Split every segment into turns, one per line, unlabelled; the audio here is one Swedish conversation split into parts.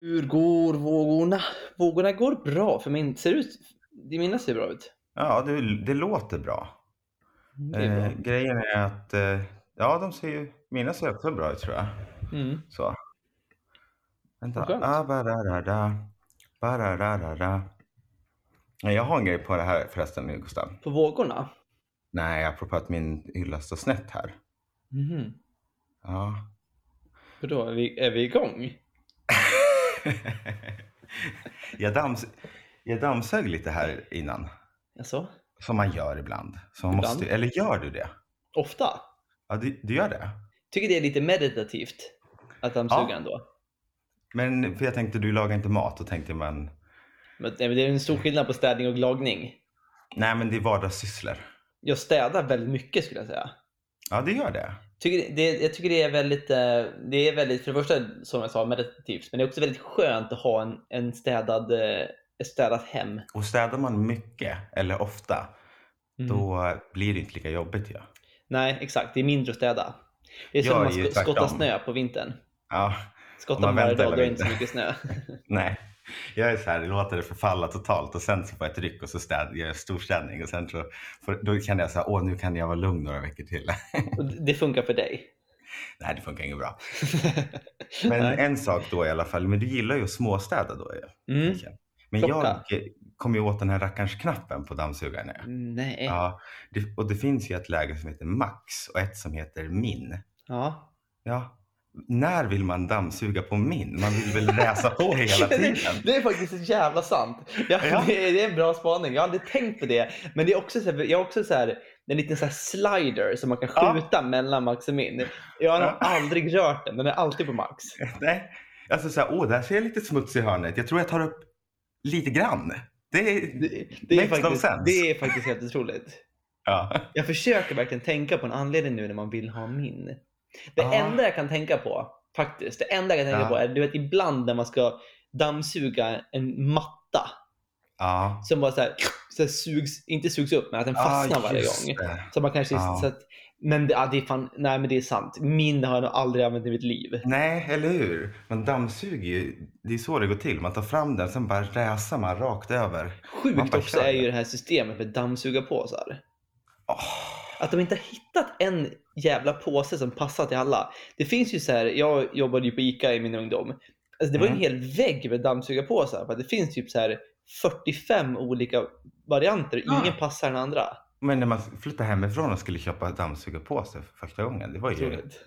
Hur går vågorna? Vågorna går bra för min. Ser ut? Det mina ser bra ut.
Ja, det, det låter bra.
Mm, Det är
Eh,
bra.
grejen är att, eh, ja de ser ju, mina ser också bra ut tror jag.
Mm.
Så. Vänta.
Vad skönt.
Ah, bararara, bararara. Nej, Jag har en grej på det här förresten nu Gustav.
På vågorna?
Nej, apropå att min hylla står snett här.
Mhm.
Ja.
För då är vi, är vi igång?
jag, dams jag dammsög lite här innan.
Alltså,
Som man gör ibland. Så man
Ibland.
måste, eller gör du det?
ofta.
Ja, du, du gör det?
Tycker det är lite meditativt att dammsuga
Ja.
ändå.
Men för jag tänkte, du lagar inte mat. Då tänkte jag, men
Men nej, men det är en stor skillnad på städning och lagning.
nej men det är vardagssysslor.
Jag städar väldigt mycket skulle jag säga.
Ja, det gör det.
Tycker det, jag tycker det är väldigt, eh, det är väldigt, för det första som jag sa, meditativt. Men det är också väldigt skönt att ha en, en städad, eh, ett städat hem.
Och städar man mycket eller ofta,
Mm.
då blir det inte lika jobbigt ju. Ja.
Nej, exakt. Det är mindre att städa. Det är som
Jag
när
är
man
ju
sk- skottar
tvärtom.
snö på vintern.
Ja,
Skottar
Om man
man varje
väntar
dag,
hela
då är det inte så
vintern.
mycket snö.
nej. Jag är så här, låter det förfalla totalt och sen så får jag ett ryck och så städ, gör jag storstädning och sen så, för, då känner jag så här, åh nu kan jag vara lugn några veckor till.
Och d- det funkar för dig.
nej, det funkar inget bra. Men en sak då i alla fall, men du gillar ju att småstäda då ju.
Mm.
tänker jag. Men
Plocka.
jag eh, kom ju åt den här rackarns knappen på dammsugaren. ju.
Nej. Ja.
Ja, det, och det finns ju ett läge som heter max och ett som heter min. Ja, när vill man dammsuga på min? Man vill väl läsa på hela
Det,
tiden?
det är faktiskt så jävla sant. Ja,
Ja.
Det, är, det är en bra spaning. Jag har aldrig tänkt på det. Men det är också så här, jag har också så här, en liten så här slider som man kan
Ja.
skjuta mellan max och min. Jag har
Ja.
aldrig rört den. Den är alltid på max.
Nej. Alltså så här, åh, där ser jag lite smuts i hörnet. Jag tror jag tar upp lite grann. Det är...
Det, det, är,
Makes no
faktiskt,
sense.
det är faktiskt helt otroligt.
Ja.
Jag försöker verkligen tänka på en anledning nu när man vill ha min. Det
Ja.
enda jag kan tänka på, faktiskt, det enda jag kan tänka
Ja.
på är du vet, ibland när man ska dammsuga en matta
Ja.
som bara så här, så här sugs, inte sugs upp, men att den fastnar varje
Ah, just
gång.
det.
Så man kanske,
Ja.
så att, men det, ja, det är fan, nej men det är sant. Min har jag nog aldrig använt i mitt liv.
Nej, eller hur? Man dammsuger ju. Det är så det går till. Man tar fram den, sen bara räsar man rakt över. Man
Sjukt
bara
också
kör
är ju
det.
det här systemet med dammsugarpåsar.
Åh.
Att de inte har hittat en jävla påse som passar till alla. Det finns ju så här, jag jobbade ju på ICA i min ungdom. Alltså det var ju en
Mm.
hel vägg med dammsugarpåsar. För att det finns typ så här 45 olika varianter.
Ja.
Ingen passar den andra.
Men när man flyttade hemifrån och skulle köpa dammsugarpåse för första gången, det var ju
Otroligt.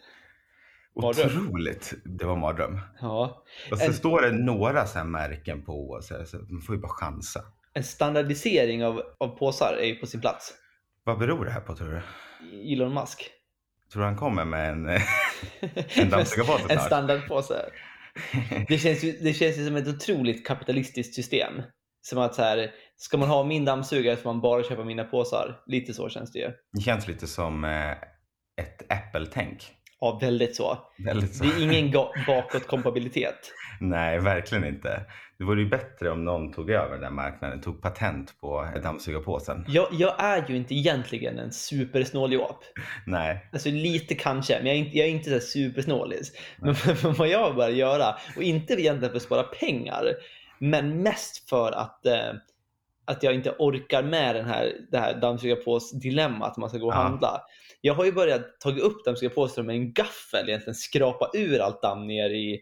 Mardröm.
otroligt. Det var mardröm.
Ja.
Och så
En-
står det några så här märken på och så, här, så man får ju bara chansa.
En standardisering av, av påsar är ju på sin plats.
Vad beror det här på tror du?
Elon Musk.
Tror du han kommer med en...
En,
dammsugarpåse
en
snart.
standardpåse. Det känns, ju, det känns ju som ett otroligt kapitalistiskt system. Som att så här, ska man ha min dammsugare får man bara köpa mina påsar. Lite så känns det ju.
det känns lite som eh, ett Apple-tänk.
Ja, väldigt så.
Väldigt så.
Det är ingen ga- bakåtkompatibilitet.
Nej, verkligen inte. Det vore ju bättre om någon tog över den där marknaden, tog patent på dammsugarpåsen.
Jag, jag är ju inte egentligen en supersnål jobb.
Nej.
Alltså lite kanske, men jag är inte, jag är inte så här supersnålis. Men vad jag börjar göra, och inte egentligen för att spara pengar, men mest för att, eh, att jag inte orkar med den här, det här dammsugarpås-dilemmat man ska gå och
Ja.
handla. Jag har ju börjat ta upp dammsugarpåsen med en gaffel, egentligen skrapa ur allt damm ner i,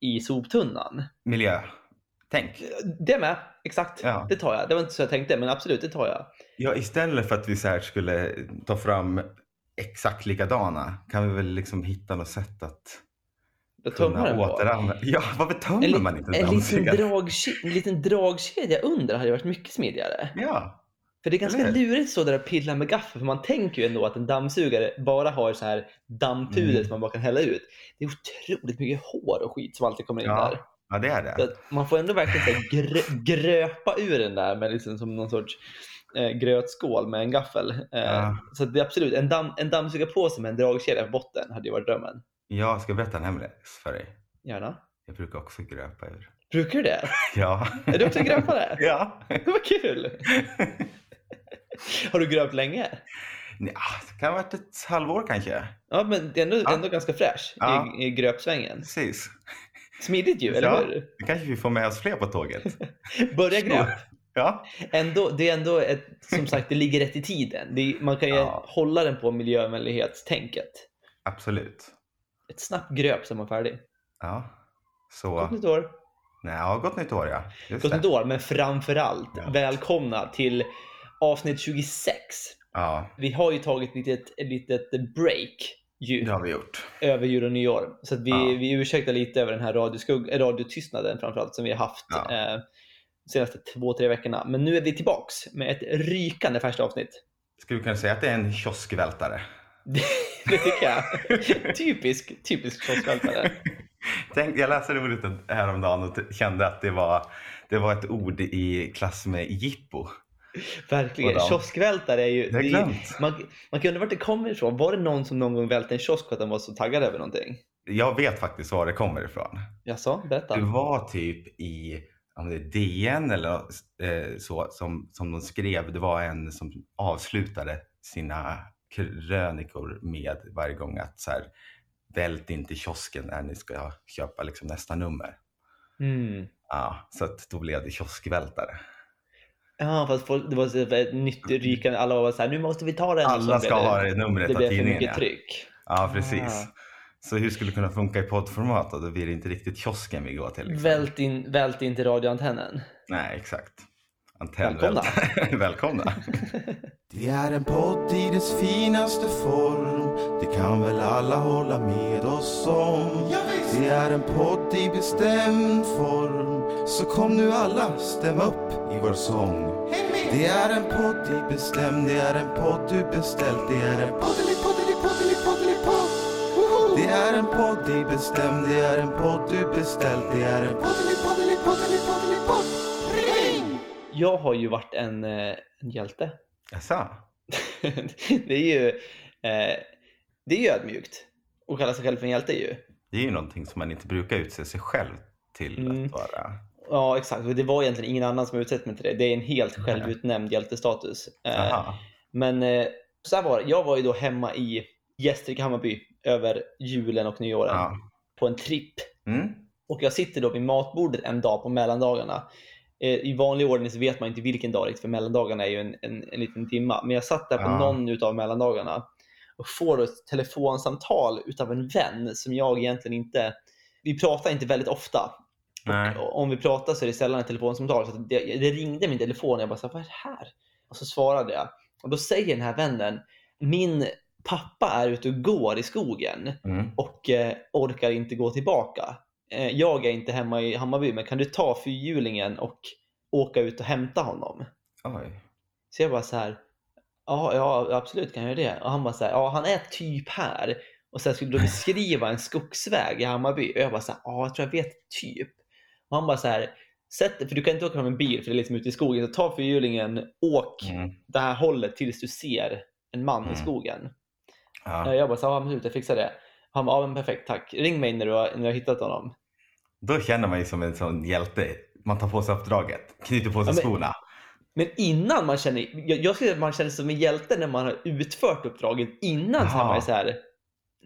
i soptunnan.
Miljötänk.
Det med, exakt.
Ja.
Det tar jag. Det var inte så jag tänkte, men absolut, det tar jag.
Ja, istället för att vi så här skulle ta fram exakt likadana kan vi väl liksom hitta något sätt att
Jag tömmer
kunna
den på.
återanvända. Ja, varför tömmer
li-
man inte
en liten,
dammsugaren?
dragke- en liten dragkedja under hade ju varit mycket smidigare.
Ja,
För det är ganska
Eller hur?
lurigt så där att pilla med gaffel för man tänker ju ändå att en dammsugare bara har så här dammpuder
Mm.
som man bara kan hälla ut. Det är otroligt mycket hår och skit som alltid kommer in där.
ja, ja, det är
Så
det.
att man får ändå verkligen så här grö- gröpa ur den där med liksom som någon sorts eh, grötskål med en gaffel. Eh,
Ja.
Så att det är absolut, en, damm, en dammsugarpåse med en dragkedja på botten hade ju varit drömmen.
Jag ska berätta en hemlis för dig.
Gärna.
Jag brukar också gröpa ur.
Brukar du det?
Ja.
Är du också en gröpare?
ja.
Vad kul! Har du gröpt länge?
Nja, ah, det kan ha varit ett halvår kanske.
Ja, men det är ändå,
Ja.
ändå ganska fräsch
Ja.
i, i gröpsvängen.
Precis.
Smidigt ju, eller
Ja.
hur?
Då kanske vi får med oss fler på tåget.
Börja gröp.
Ja,
Ändå, det är ändå ett, som sagt, det ligger rätt i tiden. Det, är- man kan ju
Ja.
hålla den på miljövänlighetstänket.
absolut.
Ett snabbt gröp så är man färdig.
Ja, så.
Gott nytt år!
Nej, ja, gott nytt år ja. Just
Gott nytt
det.
år, men framförallt
Ja.
välkomna till avsnitt 26.
Ja,
Vi har ju tagit ett litet, ett litet break ju,
det har vi gjort.
över jul och nyår. Så att vi,
Ja.
vi ursäktar lite över den här radioskugg, äh, radiotystnaden framförallt som vi har haft
Ja.
eh, de senaste två, tre veckorna. Men nu är vi tillbaks med ett rykande färskt avsnitt.
Skulle vi kunna säga att det är en kioskvältare?
Det tycker jag. typisk, typisk kioskvältare.
Tänk, jag läste det ordet häromdagen och t- kände att det var, det var ett ord i klass med jippo.
Verkligen.
Goddag.
Kioskvältare är ju...
Det har jag
det är-
glömt.
man, man kan undra vart det kommer ifrån. Var det någon som någon gång välte en kiosk för att de var så taggade över någonting?
Jag vet faktiskt var det kommer ifrån.
Jaså, berätta.
Det var typ i om det är DN eller eh, så som, som de skrev. Det var en som avslutade sina krönikor med varje gång att så här, vält inte kiosken när ni ska köpa liksom nästa nummer.
Mm.
Ja, så att då blev det kioskvältare.
Ja, fast folk, det var så här ett nytt rykande. Alla var så här, nu måste vi ta den. Och så
Alla
blev
ska
det,
ha det numret
Det
av
blev för
tidningen.
mycket
Ja.
tryck.
ja, precis.
Ah.
Så hur skulle det kunna funka i poddformat då? Då blir det inte riktigt kiosken vi går till. Liksom.
Vält in, vält in till radioantennen.
Nej, exakt. Antenn
Välkomna.
Välkomna.
Det är en podd i dess finaste form Det kan väl alla hålla med oss om Det är en podd i bestämd form Så kom nu alla, stäm upp i vår sång Det är en podd i bestämd Det är en podd du beställt Det är en poddelipoddelipoddelipoddelipodd Det är en podd i bestämd Det är en podd du beställt Det är en poddelipoddelipoddelipoddelipodd Ring!
Jag har ju varit en, eh, en hjälte.
Jaså?
det är ju eh, det är ju ödmjukt att kalla sig själv för en hjälte ju.
Det är ju någonting som man inte brukar utse sig själv till
Mm.
att vara.
Ja, exakt. Och det var egentligen ingen annan som utsett mig till det. Det är en helt självutnämnd hjältestatus. Eh,
Aha.
Men eh, så här var det. Jag var ju då hemma i Gästrike-Hammarby över julen och nyåren
Ja.
på en tripp.
Mm.
Och jag sitter då vid matbordet en dag på mellandagarna. Eh, I vanlig ordning så vet man inte vilken dag riktigt, för mellandagarna är ju en, en, en liten timma. Men jag satt där på
Ja.
någon utav mellandagarna och får då ett telefonsamtal utav en vän som jag egentligen inte... Vi pratar inte väldigt ofta.
Nej.
Och om vi pratar så är det sällan ett telefonsamtal. Så att det, det ringde min telefon och jag bara, så här, vad är det här? Och så svarade jag. Och då säger den här vännen, min pappa är ute och går i skogen
Mm.
och eh, orkar inte gå tillbaka. Eh, jag är inte hemma i Hammarby, men kan du ta fyrhjulingen och åka ut och hämta honom?
Oj.
Så jag bara så här, ja, ja absolut kan jag göra det. Och han bara så här, ja han är typ här. Och sen skulle du beskriva en skogsväg i Hammarby. Och jag bara så här, ja jag tror jag vet typ. Och han bara så här, sätt dig, för du kan inte åka fram en bil för det är liksom ute i skogen. Så ta fyrhjulingen, åk
Mm.
det här hållet tills du ser en man i
Mm.
skogen.
Ja.
Jag bara så här, ja men absolut jag fixar det. Han bara, ja men perfekt tack. Ring mig när du har, när du har hittat honom.
Då känner man ju som en sån hjälte. Man tar på sig uppdraget, knyter på sig
Ja, men-
skorna.
Men innan man känner, jag, jag skulle säga att man känner sig som en hjälte när man har utfört uppdraget. Innan så är
Aha.
man ju så här,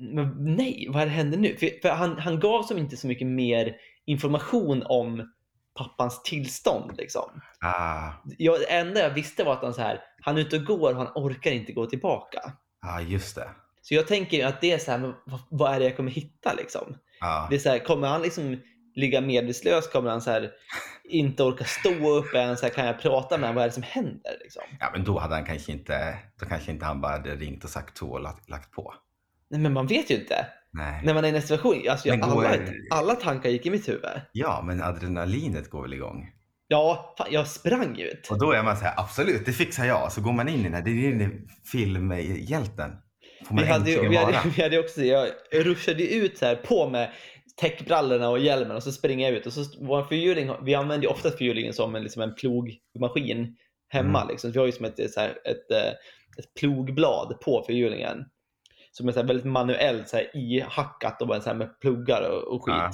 men nej, vad hände nu? För, för han, han gav som inte så mycket mer information om pappans tillstånd. Liksom.
Ah,
Jag, det enda jag visste var att han, så här, han är ute och går och han orkar inte gå tillbaka.
ah, just det.
Så jag tänker ju att det är så här, men vad, vad är det jag kommer hitta liksom?
Ah.
Det är så här, kommer han liksom ligga medvetslös? Kommer han så här, inte orka stå upp än? Så här, kan jag prata med honom? Vad är det som händer? Liksom?
Ja, men då hade han kanske inte, då kanske inte han bara hade ringt och sagt så och lagt, lagt på.
Nej, men man vet ju inte.
Nej.
När man är i en situation. Alltså, jag,
Men går-
alla, alla tankar gick i mitt huvud.
Ja, men adrenalinet går väl igång.
Ja, fan, jag sprang ut.
Och då är man så här, absolut, det fixar jag. Så går man in i den här, det är den där filmhjälten. Får man
Vi hade, ju,
äntligen
vi,
vara.
hade, vi hade också, jag ruschade ju ut så här på med täckbrallorna och hjälmen och så springer jag ut. Och så vår fyrhjuling, vi använder ju oftast fyrhjulingen som en, liksom en plogmaskin hemma.
Mm.
Liksom. Vi har ju som ett, så här, ett, eh, ett plogblad på fyrhjulingen. Som är så här väldigt manuellt så här, ihackat och bara så här med pluggar och, och skit.
Ja.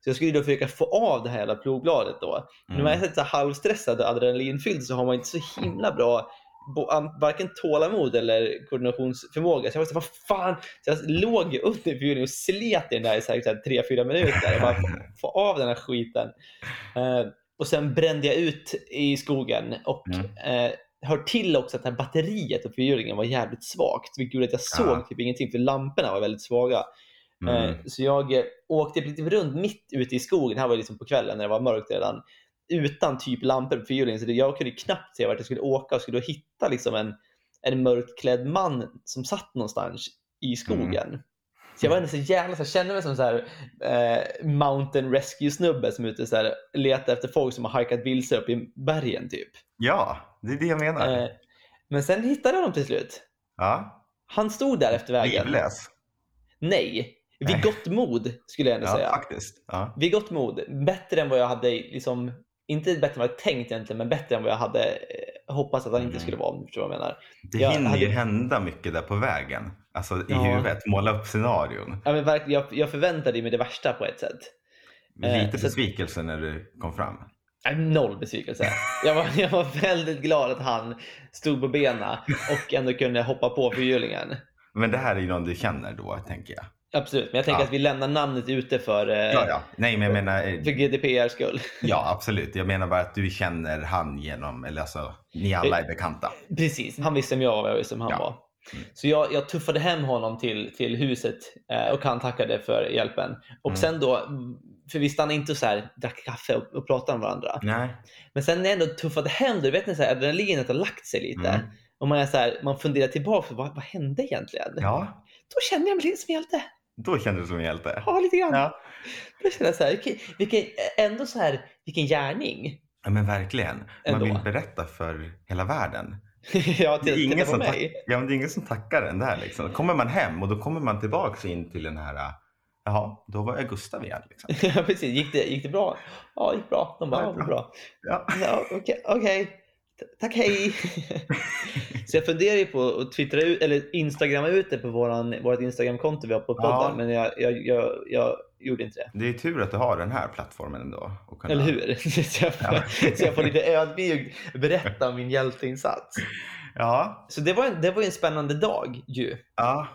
Så jag skulle ju då försöka få av det här jävla plogbladet då. Men När man är så här halvstressad och adrenalinfylld så har man inte så himla bra bo- an- varken tålamod eller koordinationsförmåga. Så jag var så här, vad fan. Så jag låg ju under intervjun och slet i den där i säkert så här tre, fyra minuter. Jag bara, få av den här skiten. Eh, och sen brände jag ut i skogen och eh, hör till också att det här batteriet på fyrhjulingen var jävligt svagt. Vilket gjorde att jag såg
Ja.
typ ingenting för lamporna var väldigt svaga. Eh,
Mm.
Så jag eh, åkte lite runt mitt ute i skogen. Det här var ju liksom på kvällen när det var mörkt redan. Utan typ lampor på fyrhjulingen. Så det- jag kunde knappt se vart jag skulle åka. Jag skulle då hitta liksom en, en mörkklädd man som satt någonstans i skogen.
Mm.
Så jag var ändå så jävla så jag kände mig som så här, eh, mountain rescue snubbe som är ute så här, letar efter folk som har hajkat vilse upp i bergen typ.
Ja, det är det jag menar.
Eh, men sen hittade jag honom till slut.
ja.
Han stod där efter vägen.
Livlös.
Nej,
Nej.
vid gott mod skulle jag ändå
Ja,
säga.
faktiskt. Ja.
vid gott mod, bättre än vad jag hade, liksom, inte bättre än vad jag tänkt egentligen, men bättre än vad jag hade eh, hoppats att han inte
Mm.
skulle vara om du förstår vad jag menar.
Det
Jag
hinner ju
hade-
hända mycket där på vägen. Alltså i
Ja.
huvudet, måla upp scenarion.
Ja, men verkligen, jag, jag förväntade mig det värsta på ett sätt. Eh,
Lite
så-
besvikelse när du kom fram.
Nej, Noll besvikelse. Jag var, jag var väldigt glad att han stod på benen och ändå kunde hoppa på fyrhjulingen.
Men det här är ju någon du känner då, tänker jag.
Eh, Absolut, men jag tänker
Ja.
att vi lämnar namnet ute för, eh,
Ja, ja. Nej, men jag menar, eh,
för GDPR skull.
ja absolut. Jag menar bara att du känner han genom, eller alltså, ni
Eh,
alla är bekanta.
Precis, han visste vem jag var och jag visste vem han
Ja.
var.
Mm.
Så jag, jag tuffade hem honom till, till huset eh, och han tackade för hjälpen. Och
Mm.
sen då, för vi stannade inte och så här, drack kaffe och, och pratade om varandra.
Nej.
Men sen när jag ändå tuffade hem, då vet ni, så här, adrenalinet har lagt sig lite.
Mm.
Och man, är så här, man funderar tillbaka, vad, vad hände egentligen?
Ja,
Då kände jag mig lite som hjälte.
då känner du som en hjälte.
Ja, lite grann.
Ja.
Då kände jag så här, vilken, vilken, ändå så här, vilken gärning.
Ja, men verkligen. Man
Ändå.
vill berätta för hela världen.
ja,
Det är,
till, titta
ingen
på
som tack,
mig.
ja, men det är ingen som tackar den där. Liksom. Kommer man hem och då kommer man tillbaks in till den här, eh, jaha, då var jag Gustav igen. Liksom.
Ja, precis. Gick det, gick det bra? Ja, det gick bra. De bara, ja, det var bra.
Ja.
Ja, Okej, okej. T- tack hej. så jag funderar ju på att twittra ut, eller instagramma ut det på våran, vårt instagramkonto vi har på podden,
Ja.
men jag, jag, jag, jag gjorde inte det.
Det är tur att du har den här plattformen ändå. Och kunna-
Eller hur? så, jag får,
Ja.
så jag får lite ödmjukt berätta om min hjälteinsats.
Ja,
Så det var, en, det var ju en spännande dag ju.
ja.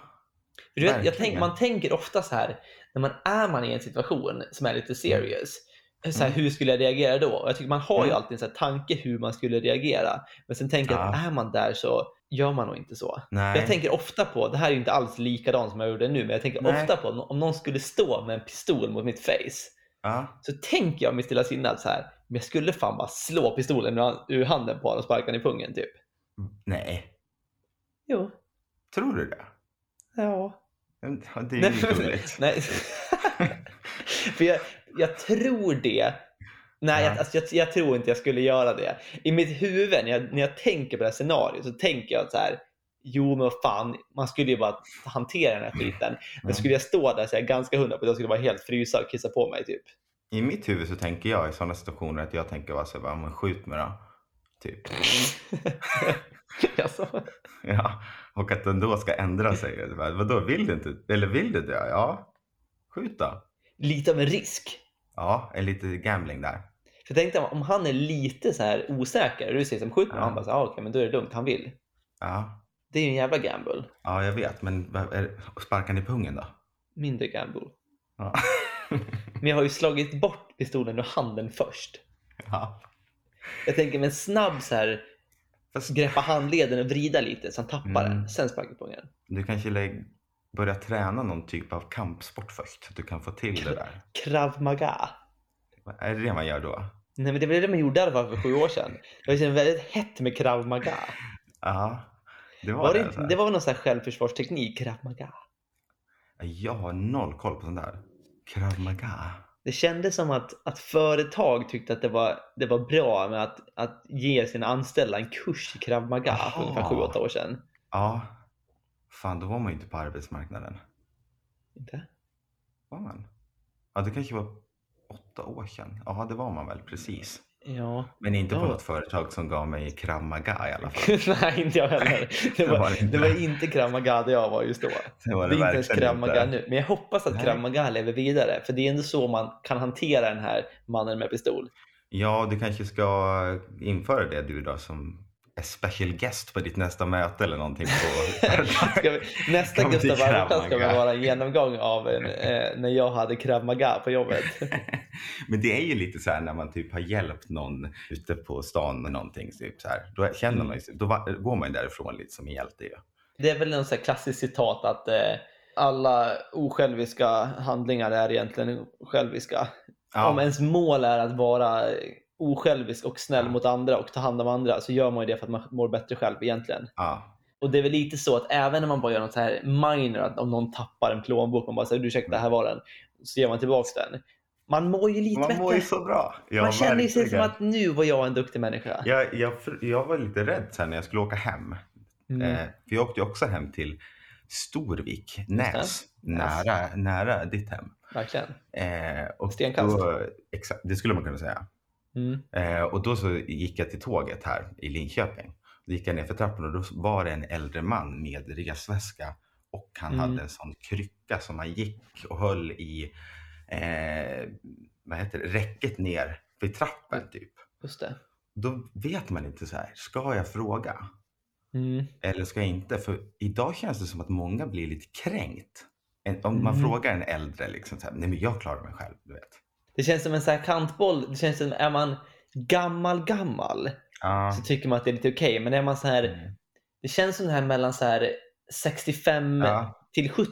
För Du vet, jag tänk,
Verkligen.
man tänker ofta så här, när man är man i en situation som är
Mm.
lite serious, eh, så här, hur skulle jag reagera då? Och jag tycker man har ju
Mm.
alltid en så här tanke hur man skulle reagera. Men sen tänker jag att är man där så gör man nog inte så.
Nej.
Jag tänker ofta på, det här är ju inte alls likadant som jag gjorde nu, men jag tänker
Nej.
ofta på om- om någon skulle stå med en pistol mot mitt face.
ja.
Så tänker jag i mitt stilla sinne att så här, men jag skulle fan bara slå pistolen ur han- ur handen på honom och sparka honom i pungen typ.
Nej,
Jo,
tror du det?
ja.
Men Det är
Nej,
ju
men-
roligt.
Nej. För jag, jag tror det. Nej, jag,
Ja.
alltså, jag, jag tror inte jag skulle göra det. I mitt huvud, när jag, när jag tänker på det här scenariot, så tänker jag att så här, jo men vad fan, man skulle ju bara hantera den här skiten. Men
Ja.
skulle jag stå där så är jag ganska hundra på att jag skulle vara helt frysa och kissa på mig typ.
I mitt huvud så tänker jag i sådana situationer att jag tänker bara så här, bara, men skjut mig då. Typ.
alltså,
Ja. Och att den då ska ändra sig. Jag Bara, Vadå, vill du inte? Eller vill du det? Ja, skjut då.
lite av en risk.
Ja, en lite gambling där.
För tänkte om han är lite så här osäker och du säger som skjut mig,
Ja.
han bara så här, ah, okej men då är det lugnt, han vill.
Ja,
Det är ju en jävla gamble.
ja jag vet. Men vad är, sparkar ni pungen då?
Mindre gamble.
Ja.
Men jag har ju slagit bort pistolen ur handen först.
ja.
Jag tänker med en snabb så här,
Fast
greppa handleden och vrida lite så han tappar
Mm.
den. Sen sparkar jag på den.
du kanske lägg, börja träna någon typ av kampsport först. Så att du kan få till det där.
Krav maga.
Vad Är det det man gör då?
Nej men det var det man gjorde i alla fall för sju år sedan. Jag kände väldigt hett med krav maga.
Ja, det var,
Var
det.
det,
alltså.
inte- det var väl någon sån här självförsvarsteknik, krav maga.
Jag har noll koll på sånt där. Krav maga.
Det kändes som att, att företag tyckte att det var, det var bra med att, att ge sina anställda en kurs i krav maga för
Jaha.
ungefär sju, åtta år sedan.
Ja. Fan, då var man ju inte på arbetsmarknaden.
Inte?
Var man? Ja, det kanske var åtta år sedan. Ja, det var man väl precis.
Ja.
Men inte på
Ja.
något företag som gav mig krav maga i alla fall.
Nej, inte jag heller. Det
det var det
var,
inte.
det var inte krav maga där jag var just då.
Det var
Det är inte ens
verkligen
Krav Maga
inte.
nu. Men jag hoppas att
Nej.
Krav Maga lever vidare. För det är ändå så man kan hantera den här mannen med pistol.
Ja, du kanske ska införa det du då som a special guest på ditt nästa möte eller någonting på
Ska vi, nästa
Kan bli
Gustav Arvidsson ska
Krav
väl
Maga.
vara en genomgång av en, eh, när jag hade krav maga på jobbet.
Men det är ju lite så här när man typ har hjälpt någon ute på stan med någonting. Typ så här, då känner man ju sig, då va- går man ju därifrån lite som en hjälte ju.
Det är väl en sån här klassisk citat att eh, alla osjälviska handlingar är egentligen själviska. Om ens mål är att vara osjälvisk och snäll
Ja.
mot andra och ta hand om andra så gör man ju det för att man mår bättre själv egentligen.
ja.
Och det är väl lite så att även när man bara gör något så här minor, att om någon tappar en plånbok, man bara säger ursäkta,
Mm.
här var den. Så ger man tillbaks den. Man mår ju lite
Man
bättre.
mår ju så bra. Ja,
man känner ju sig som
verkligen.
att nu var jag en duktig människa.
jag, jag, fr- jag var lite rädd sen när jag skulle åka hem.
Mm.
Eh, för jag åkte ju också hem till Storvik, Näs,
Näs.
nära, nära ditt hem.
Verkligen.
Eh, och
Stenkast.
Då, exakt, det skulle man kunna säga.
Mm.
Eh, och då så gick jag till tåget här i Linköping. Då gick jag ner för trappan och då var det en äldre man med resväska och han
Mm.
hade en sån krycka som han gick och höll i eh, vad heter det? räcket ner vid trappen typ.
Just det.
Då vet man inte så här, ska jag fråga
Mm.
eller ska jag inte? För idag känns det som att många blir lite kränkt. En, om man
Mm.
frågar en äldre liksom så här, nej men jag klarar mig själv, du vet.
Det känns som en sån här kantboll. Det känns som, är man gammal gammal
Ja.
så tycker man att det är lite okej. Men är man så här,
Mm.
det känns som det här mellan så här 65
Ja.
till 70.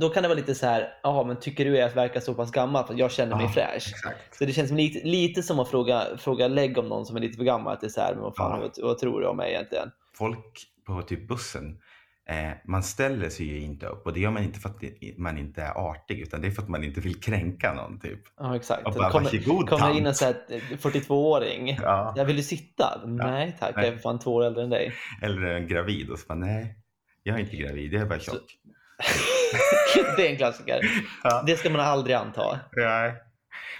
Då kan det vara lite så här, ja men tycker du jag verkar så pass gammal för att jag känner mig
Ja.
fräsch?
Exakt.
Så det känns som lite, lite som att fråga, fråga lägg om någon som är lite för gammal. Att det är så här, men vad fan,
Ja.
vad, vad tror du om mig egentligen?
Folk på typ bussen, eh, man ställer sig ju inte upp och det gör man inte för att det- man inte är artig utan det är för att man inte vill kränka någon typ.
Ja, exakt.
Och bara,
kommer
varsågod
kommer
tant.
in och säger 42-åring.
Ja,
Jag vill du sitta? Nej tack, jag är för fan två år äldre än dig.
eller en gravid och så bara, nej, jag är inte gravid, jag är bara tjock.
det är en klassiker.
Ja.
Det ska man aldrig anta.
Nej.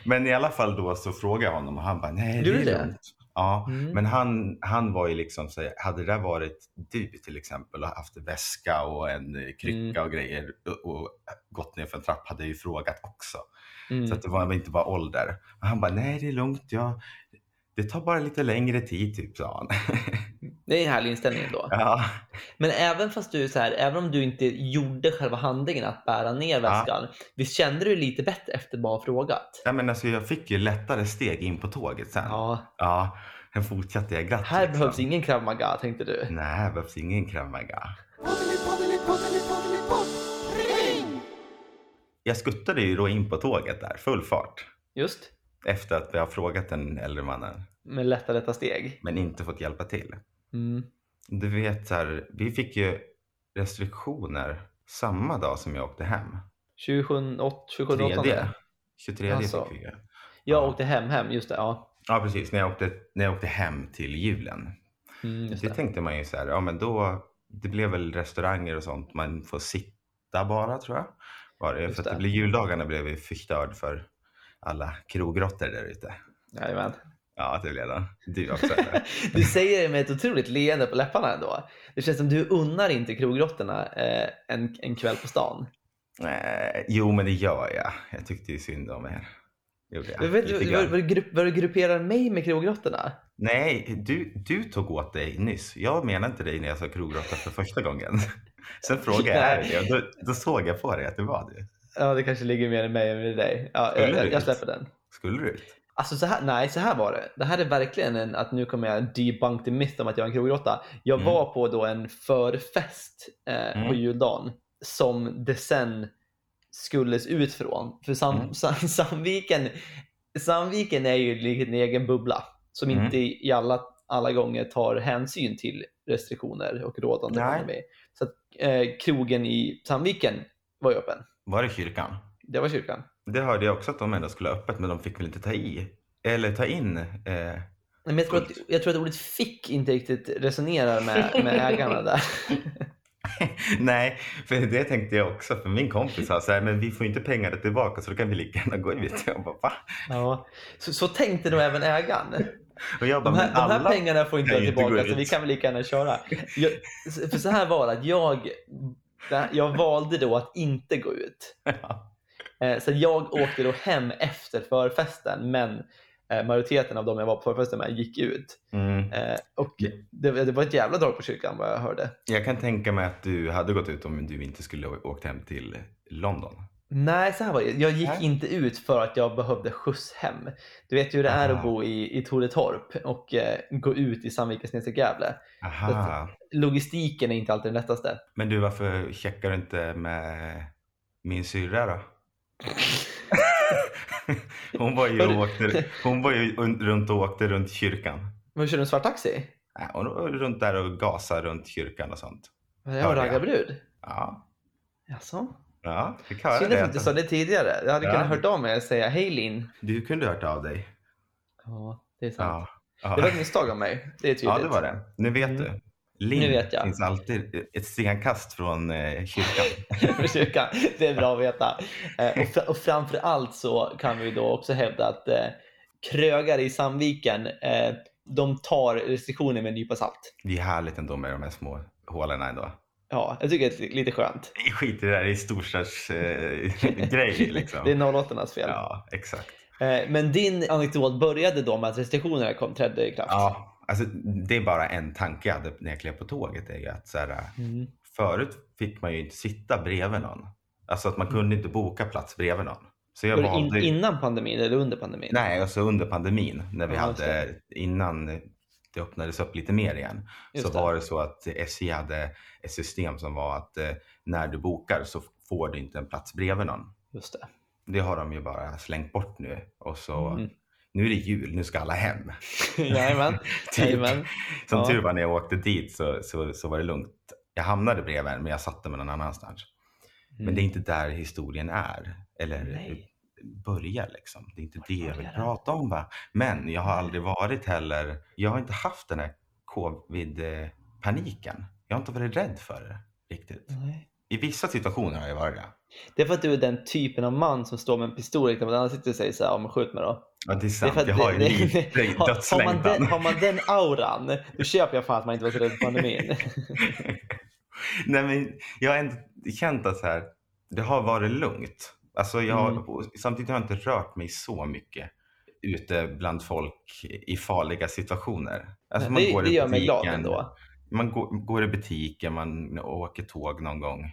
Men i alla fall då så frågade jag honom och han bara, nej
Gjorde
det
du
är
det?
lugnt. Ja,
Mm.
men han, han var ju liksom, så här, hade det där varit du till exempel och haft väska och en eh, krycka
Mm.
och grejer och, och gått ner för en trapp hade jag ju frågat också.
Mm.
Så att det var inte bara ålder. Och han bara, nej det är lugnt, jag... det tar bara lite längre tid typ, sa han.
Det är en härlig inställning då.
ja.
Men även fast du är så här, även om du inte gjorde själva handlingen att bära ner väskan. Visst kände du dig lite bättre efter att bara ha frågat?
ja, men alltså jag fick ju lättare steg in på tåget sen. Ja.
Ja,
sen fortsatte jag glatt.
här
liksom.
behövs ingen krav maga tänkte du.
Nej, här behövs ingen krav Maga. Jag skuttade ju då in på tåget där, full fart.
Just.
Efter att vi har frågat den äldre mannen,
Med lätta lätta steg.
men inte fått hjälpa till.
Mm.
Du vet, så här, vi fick ju restriktioner samma dag som jag åkte hem.
2008, 2008
23. 23
Alltså.
fick vi ju.
Jag
Ja.
åkte hem, hem, just det. Ja.
Ja, precis. När jag åkte, när jag åkte hem till julen.
Mm, just
det,
det.
tänkte man ju så här, ja men då, det blev väl restauranger och sånt, man får sitta bara tror jag. Var det.
Just
För att det
det.
blev, juldagarna blev ju förstörd för alla krogrottor där ute.
Jajamän.
Ja, det blev det. Du också. eller?
Du säger det med ett otroligt leende på läpparna ändå. Det känns som du unnar inte krogrottorna eh, en, en kväll på stan.
eh, jo, men det gör jag. Jag tyckte ju synd om er. Gjorde jag.
Vet
lite
du
grann.
vad- vad du grupp- vad du grupperar mig med krogrottorna?
Nej, du, du tog åt dig nyss. Jag menade inte dig när jag sa krogrotta för första gången. Sen frågade jag
Nej.
dig och då, då såg jag på dig att det var du.
Ja, det kanske ligger mer i mig än i dig. Ja,
Skulle
jag, jag,
du?
jag släpper den.
Skulle du ut?
Alltså så här, nej, så här var det. Det här är verkligen en, att nu kommer jag debunk the myth om att jag är en krogrotta. Jag
Mm.
var på då en förfest eh, på
Mm.
juldagen som det sen skulles ut från. För Sam,
Mm.
Sam, Samviken, Samviken är ju lite en egen bubbla som
Mm.
inte i i alla, alla gånger tar hänsyn till restriktioner och rådande
Nej.
pandemi. Så att, eh, krogen i Sandviken var ju öppen.
Var det kyrkan?
Det var kyrkan.
Det hörde jag också att de ändå skulle ha öppet, men de fick väl inte ta i? Eller ta in? Eh,
Nej, Men jag, tror att,
Coolt.
jag tror att ordet fick inte riktigt resonerar med, med ägarna där.
nej, för det tänkte jag också. För min kompis sa så här, men vi får inte pengarna tillbaka så då kan vi lika gärna gå ut. Jag bara, va?
Ja. Så, så tänkte nog även ägaren.
Och jag bara,
De här,
men
de
alla...
här pengarna får inte
kan
vara
ju inte gå
tillbaka så
ut.
vi kan väl lika gärna köra. Jag, för så här var det att jag, jag valde då att inte gå ut. Eh, Så jag åkte då hem efter förfesten men Eh, majoriteten av de jag var på förfesten med gick ut.
Mm.
Eh, och det, det var ett jävla drag på kyrkan vad jag hörde.
Jag kan tänka mig att du hade gått ut om du inte skulle ha åkt hem till London.
Nej, så här var det. Jag gick
Nej.
inte ut för att jag behövde skjuts hem. Du vet ju hur det är
Aha.
att bo i, i Toretorp och eh, gå ut i Sandviken Gävle.
Aha.
Logistiken är inte alltid den lättaste.
Men du, varför checkar du inte med min syrra då? hon, var ju och åkte, hon var ju un- runt och åkte runt kyrkan.
Men kör du en svart taxi?
Nej, Hon var runt där och gasade runt kyrkan och sånt.
Var det
Ja,
jag
det är
raggar
jag.
brud?
Ja,
Jaså?
ja fick höra
Synd att du inte sa
det.
det tidigare. Jag hade
Ja.
kunnat hört av mig och säga hej Linn.
Du kunde hört av dig.
Ja, det är sant.
Ja, ja.
Det var ett misstag av mig. Det är tydligt.
ja det var det. Nu vet
Mm.
du. Linn
Nu vet jag.
finns alltid ett stenkast från eh, kyrkan.
Försöka. Det är bra att veta. Eh, Och, fra- och framför allt så kan vi då också hävda att eh, krögar i Sandviken, eh, de tar restriktioner med en nypa salt.
Det är härligt ändå med de här små hålen ändå.
Ja, jag tycker det är lite skönt.
Vi skiter i det där i storstadsgrejer eh, grejer, liksom.
Det är 08 fel.
Ja, exakt.
Eh, Men din anekdot började då med att restriktionerna kom, trädde i kraft.
Ja, alltså, det är bara en tanke jag hade när jag klev på tåget. Är ju att, så här,
Mm.
förut fick man ju inte sitta bredvid någon. Alltså att man kunde inte boka plats bredvid någon. Så jag
Mm. Var det in,
valde...
innan pandemin eller under pandemin?
Nej, alltså under pandemin när vi
Ja, just
hade, innan det öppnades upp lite mer igen,
Just
så
det.
var det så att SJ hade ett system som var att eh, när du bokar så får du inte en plats bredvid någon.
Just det.
Det har de ju bara slängt bort nu och så
Mm.
nu är det jul, nu ska alla hem.
Jajamän.
Typ.
Jajamän.
Som
Ja.
tur var när jag åkte dit så, så, så var det lugnt. Jag hamnade bredvid en, men jag satte mig någon annanstans. Men det är inte där historien är. Eller
Mm. Nej.
börjar liksom. Det är inte
Vart
det jag vill
börjar den?
prata om va. Men jag har aldrig varit heller, jag har inte haft den här covid-paniken. Jag har inte varit rädd för det riktigt.
Nej.
I vissa situationer har jag varit det.
Det är för att du är den typen av man som står med en pistol riktad mot den andra sitter och säger så här, "Ja, men skjut mig då.
Ja, det är
Det är
sant.
för att
jag
det-
har ju
det-
lite
har- har, man den, har
dödslängtan.
man den auran, då köper jag fan att man inte var så rädd för pandemin.
Nej, men jag har ändå känt att så här, det har varit lugnt. Alltså jag, har-
Mm.
och Samtidigt har jag inte rört mig så mycket ute bland folk i farliga situationer. Alltså man
det,
går
det
i
gör mig glad
butiken,
ändå.
Man går, går i butiken, man åker tåg någon gång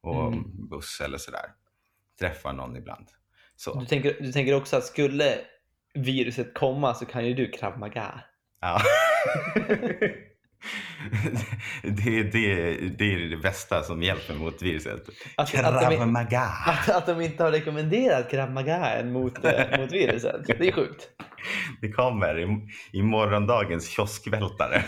och
Mm.
buss eller sådär. Träffar någon ibland. Så.
Du tänker, du tänker också att skulle viruset komma så kan ju du krav maga.
Ja. det, det, det är det bästa som hjälper mot viruset.
Att, att,
Krav
de,
maga.
att, att de inte har rekommenderat krav maga än mot, eh, mot viruset. Det är sjukt.
Det kommer i, i morgondagens kioskvältare.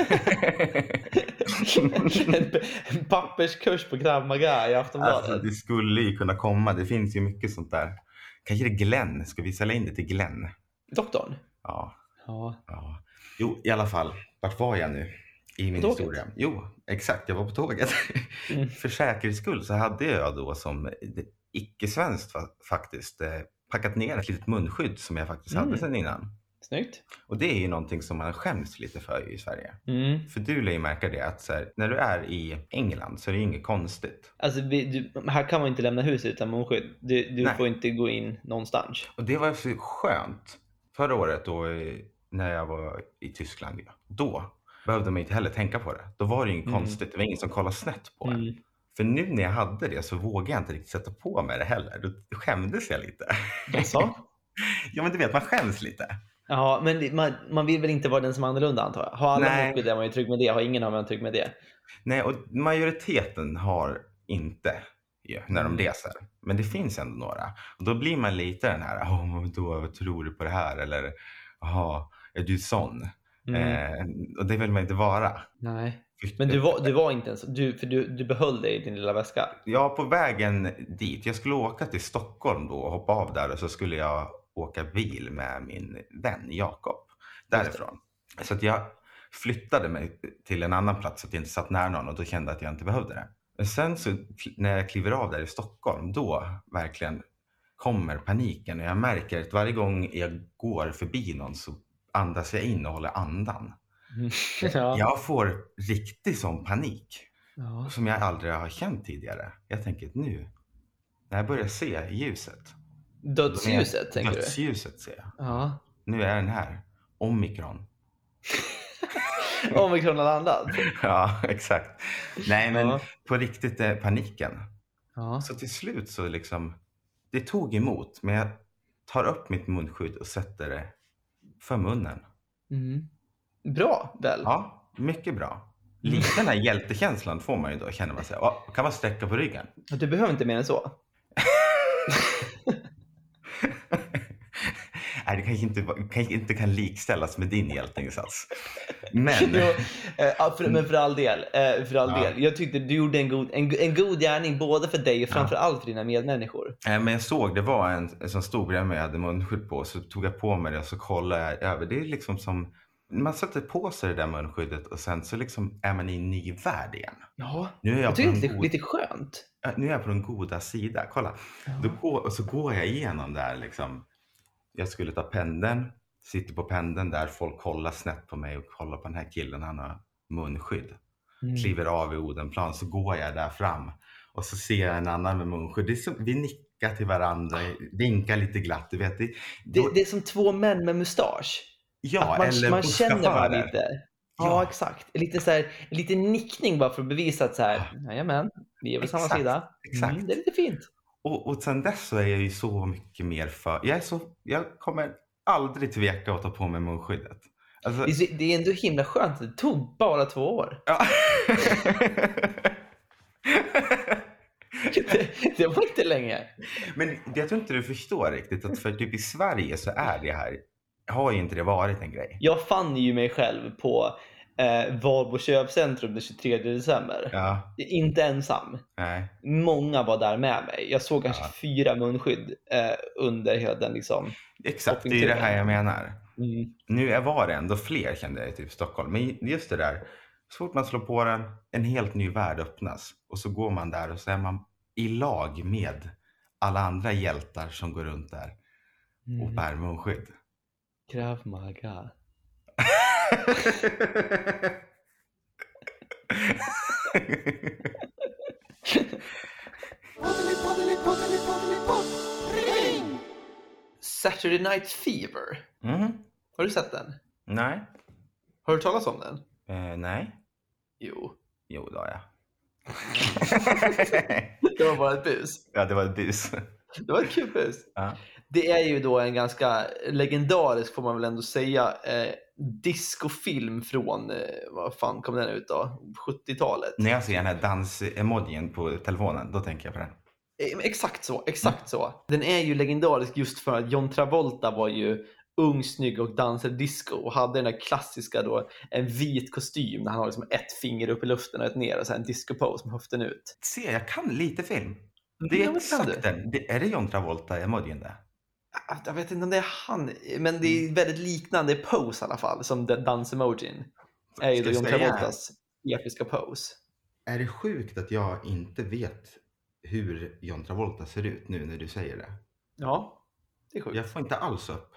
en, p- en papperskurs på krav maga i Aftonbladet.
alltså, det skulle ju kunna komma. Det finns ju mycket sånt där. Kanske det är Glenn. Ska vi sälja in det till Glenn?
Doktorn?
Ja.
Ja.
ja. Jo, i alla fall. Vart var jag nu? I min
På tåget.
historia. Jo, exakt. Jag var på tåget.
Mm.
För säkerhets skull så hade jag då som eh, icke-svenskt fa- faktiskt eh, packat ner ett litet munskydd som jag faktiskt hade
Mm.
sedan innan.
Snyggt.
Och det är ju någonting som man skäms lite för i Sverige.
Mm.
För du lär ju märka det att så här, när du är i England så är det ju inget konstigt.
Alltså, vi, du, här kan man inte lämna huset utan munskydd. Du, du
Nej.
får inte gå in någonstans.
Och det var så skönt. Förra året då eh, när jag var i Tyskland, ja, då behövde man inte heller tänka på det. Då var det ju inget
Mm.
konstigt. Det var ingen som kollade snett på en.
Mm.
För nu när jag hade det så vågade jag inte riktigt sätta på mig det heller. Då skämdes jag lite.
Jaså?
ja men du vet, man skäms lite.
Ja, men det- man, man vill väl inte vara den som är annorlunda antar jag? Har alla
Nej.
munskydd är man ju trygg med det. Har ingen har man trygg med det.
Nej, och majoriteten har inte ju, när de
Mm.
reser. Men det finns ändå några. Och då blir man lite den här, oh, då, vad tror du på det här? Eller, jaha, är du sån?
Mm.
Eh, och det vill man inte vara.
Nej. Men du var, du var inte ens... Du, för du, du behöll dig i din lilla väska.
Jag var på vägen dit. Jag skulle åka till Stockholm då och hoppa av där och så skulle jag åka bil med min vän Jakob därifrån. Så att jag flyttade mig till en annan plats så att jag inte satt nära någon och då kände jag att jag inte behövde det. Men sen så kl- när jag kliver av där i Stockholm, då verkligen kommer paniken och jag märker att varje gång jag går förbi någon så andas jag in och håller andan.
ja.
Jag får riktig sån panik
Ja.
som jag aldrig har känt tidigare. Jag tänker att nu, när jag börjar se ljuset.
Dödsljuset, tänker du?
Dödsljuset ser jag.
Ja.
nu är den här. Omikron.
Omikron har landat.
Ja, exakt. Nej, men
Ja.
på riktigt eh, paniken.
Ja.
Så till slut så liksom, det tog emot, men jag tar upp mitt munskydd och sätter det för munnen.
Mm. Bra väl?
Ja, mycket bra. Lite den här hjältekänslan får man ju då, känner man sig. "Åh, Kan man sträcka på ryggen?
Du behöver inte mer än så.
Nej, det kanske inte, var- kanske inte kan likställas med din hjälteinsats. Men,
Jo, eh, ja, för, men för all del. eh, För all
Ja.
del. Jag tyckte du gjorde en god, en, en god gärning både för dig och framförallt för dina medmänniskor.
eh, men jag såg, det var en, en som stod bredvid mig, jag hade munskydd på, så tog jag på mig det och så kollade jag över. Det är liksom som, man sätter på sig det där munskyddet och sen så liksom är man i en ny värld igen.
Ja.
Nu är jag,
Jag
på
tycker
den,
det är
goda,
lite skönt.
nu är jag på den goda sida. Kolla, Då går, och så går jag igenom där liksom. Jag skulle ta pendeln, sitter på pendeln där, folk kollar snett på mig och kollar på den här killen, han har munskydd.
Mm.
Kliver av i Odenplan, så går jag där fram och så ser jag en annan med munskydd. Det är som, vi nickar till varandra, vinkar lite glatt. Du vet, det,
Ah. Det, det är som två män med mustasch.
ja,
att man,
eller
man känner varandra
busschaufförer.
lite. Ja,
Ja.
exakt. Lite, så här, lite nickning bara för att bevisa att så här, jajamän, vi är på samma
Exakt,
sida. Mm,
exakt.
det är lite fint.
Och, och sen dess så är jag ju så mycket mer för... Jag, är så, jag kommer aldrig tveka att ta på mig munskyddet. Alltså,
Det är, så- det är ändå himla skönt. att Det tog bara två år.
ja.
Det, det var inte länge.
Men jag tror inte du förstår riktigt att för typ i Sverige så är det här, har ju inte det varit en grej.
Jag fann ju mig själv på eh, Valbo köpcentrum den 23 december.
Ja,
Inte ensam.
nej.
Många var där med mig. Jag såg kanske
Ja.
fyra munskydd eh, under hela den. Liksom.
Exakt, det är ju det här jag menar.
Mm.
Nu är var det ändå fler kände jag i typ Stockholm. Men just det där, så fort man slår på den, en helt ny värld öppnas. Och så går man där och så är man i lag med alla andra hjältar som går runt där och
Mm.
bär munskydd.
Krav Maga. Saturday Night Fever.
Mhm.
Har du sett den?
Nej.
Har du talat om den?
Eh, nej.
Jo.
Jo, det har jag.
Det var bara ett bus.
ja, det var ett bus.
Det var ett kul bus.
Ja.
Det är ju då en ganska legendarisk, får man väl ändå säga, eh, discofilm från, eh, vad fan kom den ut då? 70-talet.
När jag ser den här dans-emojin på telefonen, då tänker jag på den.
Eh, men Exakt
Mm.
så, exakt så. Den är ju legendarisk just för att John Travolta var ju ung, snygg och dansade disco och hade den där klassiska då, en vit kostym där han har liksom ett finger upp i luften och ett ner och så här en disco-pose med höften ut.
Se, jag kan lite film. Det
Ja,
är
men kan du?
exakt den. Det, är det John Travolta-emojin där?
Jag- Jag vet inte om det är han, men det
Mm.
är väldigt liknande pose i alla fall som den dans-emojin. är ju
Ska
då
jag
John
säga?
Travoltas episka pose.
Är det sjukt att jag inte vet hur John Travolta ser ut nu när du säger det?
Ja, det är sjukt.
Jag får inte alls upp.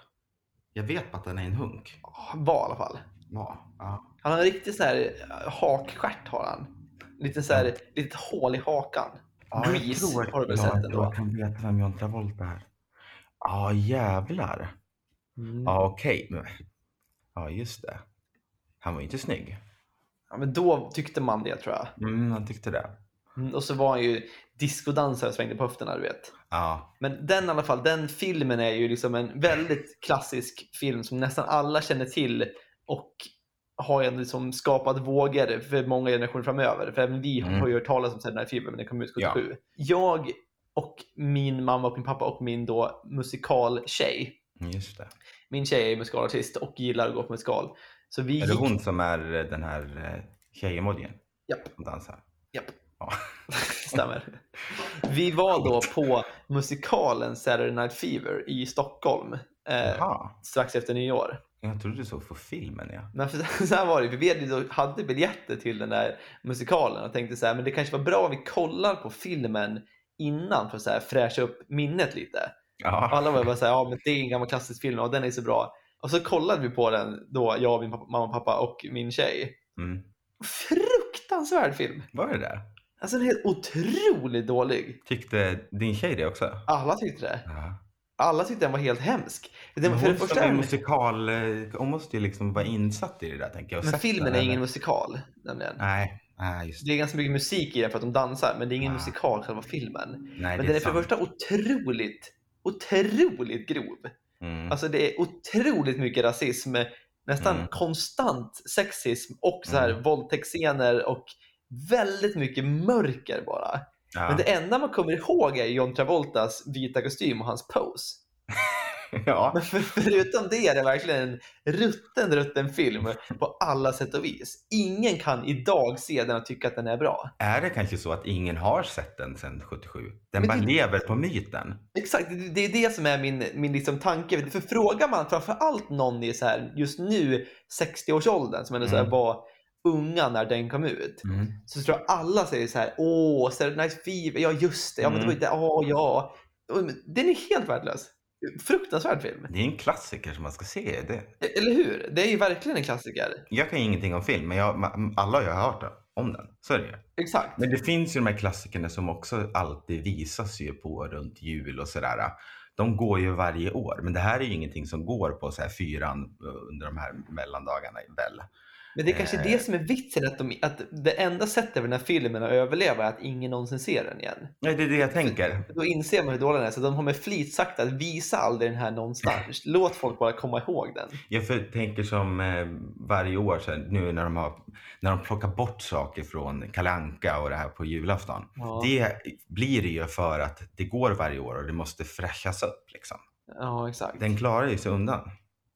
Jag vet bara att han är en hunk.
Ah, Var i alla fall.
Ja, ja.
Han har en riktig så här eh, hakstjärt har han. Lite så här, litet hål i hakan.
ja jag
Grease
tror att
har du väl
jag,
sett den då?
jag kan veta vem John Travolta är. Ja, jävlar.
Mm.
Ja, okej. Men- Ja, just det. Han var ju inte snygg.
Ja, men då tyckte man det tror jag.
Mm, han tyckte det.
Mm, och så var han ju discodansare och svängde på höfterna, du vet.
Ja,
Men den i alla fall, den filmen är ju liksom en väldigt klassisk film som nästan alla känner till och har ju ändå liksom skapat vågor för många generationer framöver. För även vi
Mm.
har ju hört talas om den här filmen, men den kom ut
Ja.
77. Jag och min mamma och min pappa och min då musikaltjej.
just det.
Min tjej är musikalartist och gillar att gå på musikal. Så vi
Är det
gick-
hon som är den här eh, tjejemojin?
Japp.
Som dansar?
Japp.
Ja.
Stämmer. Vi var då på musikalen Saturday Night Fever i Stockholm eh,
Jaha,
strax efter nyår.
jag trodde du såg för filmen ja.
Men för, så här var det, vi hade ju då- hade biljetter till den där musikalen och tänkte så här, men det kanske var bra om vi kollar på filmen innan för att så här fräscha upp minnet lite. Och
Ja,
alla var bara så här, ja men det är en gammal klassisk film och den är så bra. Och så kollade vi på den då, jag, min pappa, mamma, pappa och min tjej.
mm.
Fruktansvärd film!
var det det?
Alltså den är helt otroligt dålig.
Tyckte din tjej det också?
Alla tyckte det.
Ja.
Alla tyckte den var helt hemsk. Den,
Men
för det
hon som
första,
är musikal, eh, hon måste ju liksom vara insatt i det där tänker jag. och
men
sett
filmen
den,
är
eller?
ingen musikal. Nämligen.
Nej, nej just
Det är ganska mycket musik i den för att de dansar, men det är ingen
Ah.
musikal själva filmen.
det. Nej,
Men
det
den är för det
sant.
första otroligt, otroligt grov.
Mm.
Alltså det är otroligt mycket rasism, nästan
Mm.
konstant sexism och så här
Mm.
våldtäktsscener och väldigt mycket mörker bara.
ja.
Men det enda man kommer ihåg är John Travoltas vita kostym och hans pose.
ja.
Men för, förutom det är det verkligen en rutten, rutten film på alla sätt och vis. Ingen kan idag se den och tycka att den är bra.
Är det kanske så att ingen har sett den sedan 77? Den
Men
bara
det-
lever på myten.
Exakt, det- det är det som är min, min liksom tanke. För frågar man framförallt någon i så här, just nu 60-årsåldern som ändå så här
Mm.
var unga när den kom ut. Så tror jag alla säger så här, åh, Saturday Night Fever, ja just det, ja men
Mm.
det var ju det, ja ja. Och Den är helt värdelös. Fruktansvärd film. E,
Det är en klassiker som man ska se. Det,
Eller hur? Det är ju verkligen en klassiker. jag
jag kan ju ingenting om film, men jag, ma- alla har ju hört om den. Så är det ju.
Exakt.
Men det finns ju de här klassikerna som också alltid visas ju på runt jul och sådär. De går ju varje år, men det här är ju ingenting som går på så här fyran eh, under de här mellandagarna väl?
Men det är kanske
Eh.
det som är vitsen, att, de, att det enda sättet för den här filmen att överleva är att ingen någonsin ser den igen.
Nej, det är det jag tänker.
Då inser man hur dålig den är, så de har med flit sagt att visa aldrig den här någonstans. Låt folk bara komma ihåg den.
Jag för- tänker som eh, varje år sen, nu när de, har, när de plockar bort saker från Kalle Anka och det här på julafton.
Ja.
Det blir det ju för att det går varje år och det måste fräschas upp. Liksom.
Ja, exakt. Den,
Den klarar ju sig undan.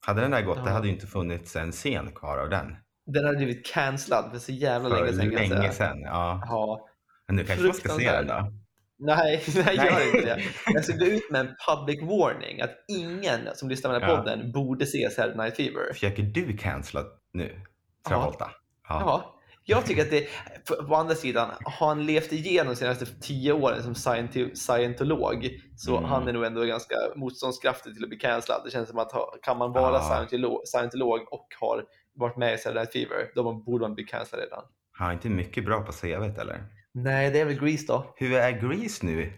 Hade den där gått, det
Ja.
hade ju inte funnits en scen kvar av den.
har blivit cancellad för så jävla
För
länge sedan. kan jag
länge
säga.
sedan. Ja.
Ja.
Men nu kanske man ska se den då.
Nej, nej,
Nej.
gör inte det. Jag skulle gå ut med en public warning att ingen som lyssnar på den här
Ja.
podden borde se Saturday Night Fever.
Försöker du cancella nu, Travolta? Ja.
Ja. Jag tycker att det, för- på andra sidan, har han levt igenom de senaste tio åren som scienti- scientolog så
Mm.
han är nog ändå ganska motståndskraftig till att bli cancellad. Det känns som att ha- kan man vara
Ja.
scientolo- scientolog och har varit med i Saturday Night Fever, då man- borde man bli cancellad redan.
Han är inte mycket bra på CVt eller?
Nej, det är väl Grease då.
Hur är Grease nu?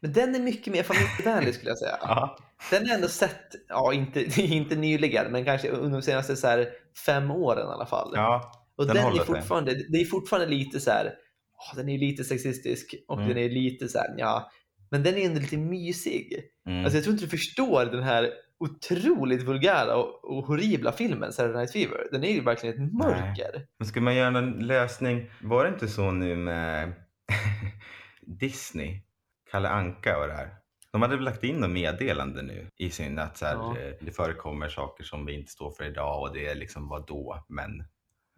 Men den är mycket mer familjevänlig skulle jag säga.
Ja.
Den har jag ändå sett, ja inte, inte nyligen, men kanske under de senaste så här, fem åren i alla fall.
ja.
Och
Den
den, är
håller sig.
fortfarande, det är fortfarande lite så här, åh, den är lite sexistisk och
Mm.
den är lite så här, ja. Men den är ändå lite mysig.
Mm.
Alltså jag tror inte du förstår den här otroligt vulgära och, och horribla filmen Saturday Night Fever. Den är ju verkligen ett mörker.
Men ska man göra en lösning? Var det inte så nu med Disney? Kalle Anka och det här. De hade väl lagt in något meddelande nu i sin att så här,
Ja.
eh, det förekommer saker som vi inte står för idag och det är liksom vad då? Men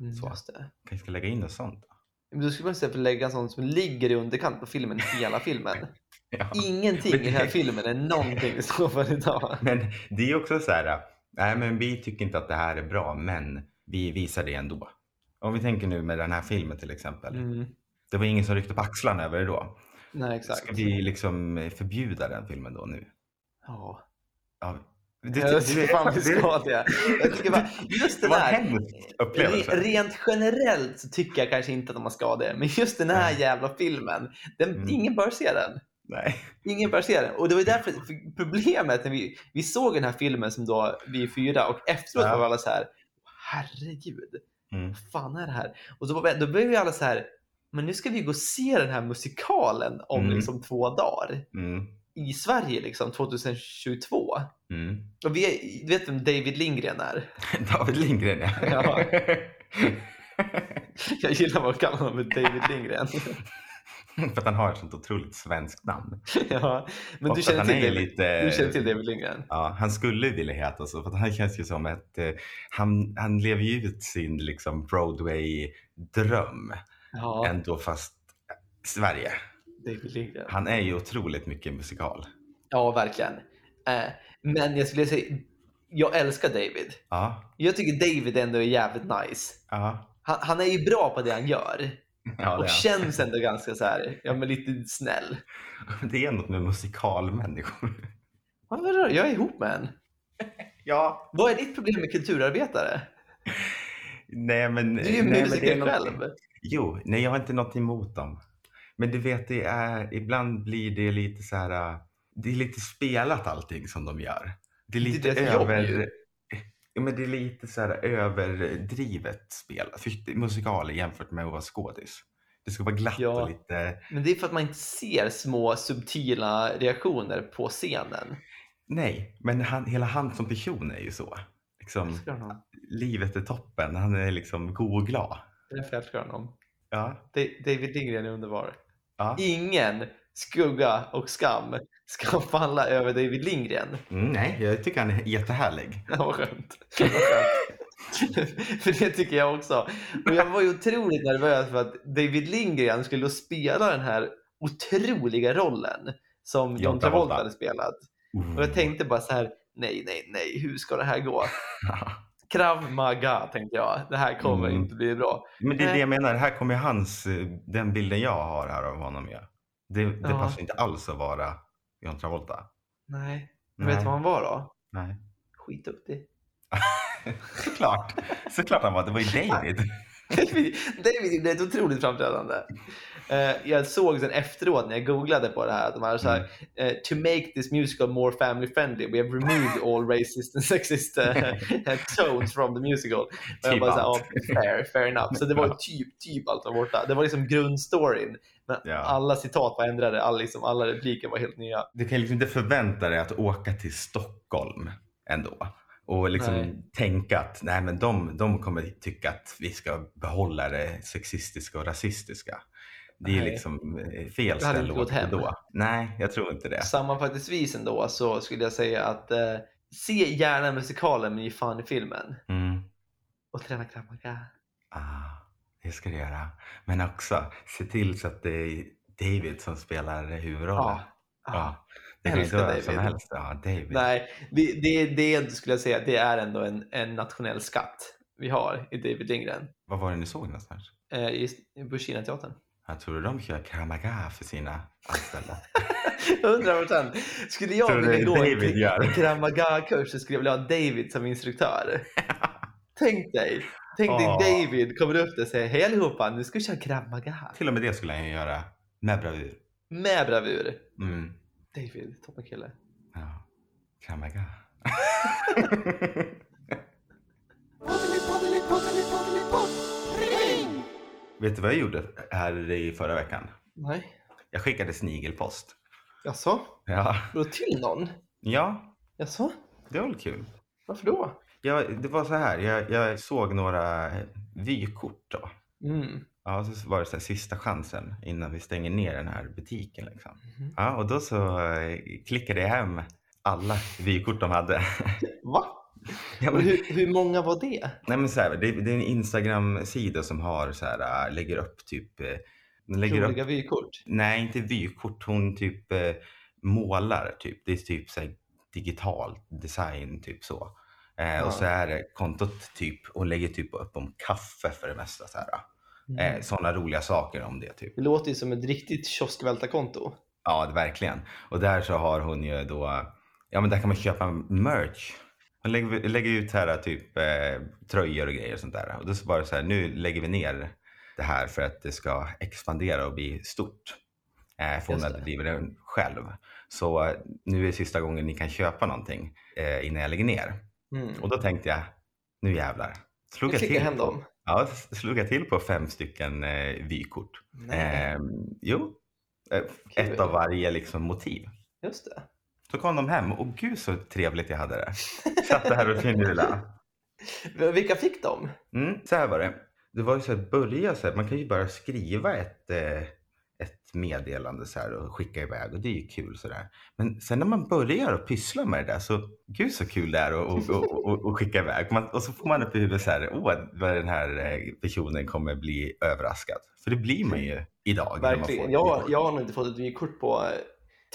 Mm,
Så.
just det.
kanske ska lägga in något sånt.
Men då skulle man istället lägga en sån som ligger i underkant på filmen, hela filmen.
Ja.
Ingenting i den här filmen är någonting vi står för idag.
Men det är också så här, nej men vi tycker inte att det här är bra, men vi visar det ändå. Om vi tänker nu med den här filmen till exempel.
Mm,
Det var ingen som ryckte på axlarna över det då.
nej, exakt.
Ska vi liksom eh, förbjuda den filmen då nu?
Ja.
Ja. Du,
Jag tycker fan vi ska det. Jag tycker bara, just
det
det
var en
där.
hemsk upplevelse.
Re- Rent generellt så tycker jag kanske inte att man ska det, men just den här jävla filmen, den,
Mm.
ingen bör se den.
Nej.
Ingen bör se den. Och det var därför
Mm.
för problemet när vi, vi såg den här filmen som då vi fyra och efteråt
Ja.
var alla så här, herregud,
Mm.
vad fan är det här? Och då, var- då blev vi alla så här, men nu ska vi gå och se den här musikalen om
Mm.
liksom två dagar
Mm.
i Sverige liksom 2022.
Mm.
Och vi, är- du vet vem David Lindgren är?
David Lindgren ja.
Ja. Jag gillar att kalla honom för David Lindgren.
För att han har ett sånt otroligt svenskt namn.
Ja, men
Och
du
för
känner,
att
till
han är
David,
lite-
du känner till David Lindgren?
Ja, han skulle vilja heta så, för att han känns ju som att eh, han, han lever ju ut sin liksom, Broadway-dröm
Ja,
ändå fast eh, Sverige.
David Lindgren.
Han är ju otroligt mycket musikal.
Ja, verkligen. Eh, Men jag skulle säga, jag älskar David.
Ja,
Jag tycker David ändå är jävligt nice.
ja,
Han, han är ju bra på det han gör
ja det,
och
är.
känns ändå ganska så här, ja men lite snäll.
han. det är något med musikalmänniskor.
Vad vadå? Jag är ihop med en.
Ja,
Vad är ditt problem med kulturarbetare?
nej men...
Du är ju
nej, men det är
musiker
någonting-
själv.
Jo, nej jag har inte något emot dem. Men du vet, det är, ibland blir det lite så här, äh, det är lite spelat allting som de gör. Det är
Det är
lite
deras jobb
över...
ju.
Ja, men det är lite så här överdrivet spelat. För det är musikal jämfört med att vara skådis. Det ska vara glatt
Ja.
och lite...
Men det är för att man inte ser små subtila reaktioner på
Mm.
scenen.
Nej, men han, hela han som person är ju så. Liksom,
Älskar honom.
livet är toppen. Han är liksom god och glad.
Därför älskar jag honom.
Ja,
Da- David Lindgren är underbar.
ja.
Ingen skugga och skam ska falla över David Lindgren.
Mm, nej, jag tycker han är jättehärlig.
Ja, vad skönt. Vad skönt. för det tycker jag också. Och jag var ju otroligt nervös för att David Lindgren skulle spela den här otroliga rollen som John
John
Travolta
Travolta.
hade spelat. Och
Mm.
jag tänkte bara så här, nej, nej, nej, hur ska det här gå? Krav Maga tänkte jag, det här kommer
Mm.
inte bli bra.
Men det är det
Nej.
jag menar. Här kommer ju hans, eh, den bilden jag har här av honom. Ja. Det, det
Ja.
passar inte alls att vara John Travolta.
Nej, men vet du vad han var då?
Nej.
Skitduktig.
Såklart. Såklart han var. Det var ju David.
David David är ett otroligt framträdande. Eh, jag såg sen efteråt när jag googlade på det här att de hade så här,
Mm.
eh, To make this musical more family friendly we have removed all racist and sexist eh, tones from the musical. Och jag
Typ
bara så här,
allt.
"Ja, fair, fair enough. Så det var ju typ, typ allt var borta. Det var liksom grundstoryn. Men
Ja.
alla citat var ändrade, alla, liksom, alla repliker var helt nya.
Du kan ju liksom inte förvänta dig att åka till Stockholm ändå. Och liksom
Nej.
tänka att nej, men de, de kommer tycka att vi ska behålla det sexistiska och rasistiska. Det är
Nej.
liksom eh, fel
Det hade
ställe
inte
att
gått
åka
hem.
till då. Nej, jag tror inte det.
Sammanfattningsvis ändå så skulle jag säga att eh, se gärna musikalen men ge fan i filmen.
Mm.
Och träna krav
Ah, det ska du göra. Men också se till så att det är David som spelar huvudrollen.
Ja. Ah.
Ja, Det kan inte
Älskar
vara vem
David.
som helst. Ja, David.
Nej, vi- det, det skulle jag säga det är ändå en, en nationell skatt vi har i David Lindgren
Vad var det ni såg någonstans?
eh, i, på Kinateatern.
Jag tror du de kör kramaga för sina anställda?
100 procent. Skulle jag
Tror du
vilja
det
gå
David gör?
en Kramaga-kurs så skulle jag vilja ha David som instruktör. tänk dig, tänk dig
Ah.
David kommer upp där och säger hej allihopa, nu ska vi köra Kramaga.
Till och med det skulle han ju göra med bravur.
Med bravur.
Mm.
David, toppenkille.
Ja. Kramaga. Vet du vad jag gjorde här i förra veckan?
Nej.
Jag skickade snigelpost.
Jaså?
Ja,
Går det till någon?
ja
Jaså?
det var väl kul.
Varför då?
Ja, det var så här, jag, jag såg några vykort då.
Mm.
Ja, så var det så här, sista chansen innan vi stänger ner den här butiken. Liksom.
Mhm.
Ja, och då så eh, klickade jag hem alla vykort de hade.
Va?
Ja,
Och
men,
hur, hur många var det?
nej, men så här, det, det är en Instagram-sida som har så här, eh, lägger upp typ... eh, Den lägger upp,
Roliga vykort?
nej, inte vykort. Hon typ eh, målar. Typ. Det är typ så här, digital design, typ så. Eh,
Ja.
Och så är det kontot typ och lägger typ upp om kaffe för det mesta. Så här, eh,
Mm.
Sådana roliga saker om det typ.
Det låter ju som ett riktigt kioskvältarkonto.
Ja, det- verkligen. Och där så har hon ju då, ja men där kan man köpa merch. Hon lägger, lägger ut här typ eh, tröjor och grejer och sånt där. Och då så bara så här, nu lägger vi ner det här för att det ska expandera och bli stort. Eh, för hon
Just
hade
det.
drivit den själv. Så eh, nu är sista gången ni kan köpa någonting eh, innan jag lägger ner.
Mm.
Och då tänkte jag, nu jävlar.
Jag
Slog jag,
klickar hem
till på,
dem.
ja, s- slog jag till på fem stycken eh, vykort.
Nej,
Eh, jo, eh,
Kul.
ett av varje liksom, motiv.
just det.
Så kom de hem och gud så trevligt jag hade det. Satt det här och finurlade.
V- Vilka fick dem?
Mm, så här var det. Det var ju så här, börja så här, man kan ju bara skriva ett, eh, ett meddelande så här och skicka iväg och det är ju kul så där. Men sen när man börjar att pyssla med det där så gud så kul det är att och, och, och, och skicka iväg. Man, och så får man upp i huvudet så här, åh vad den här eh, personen kommer bli överraskad. För det blir man ju idag. när man
Verkligen.
får-
Jag, jag har nog inte fått ett vykort på eh,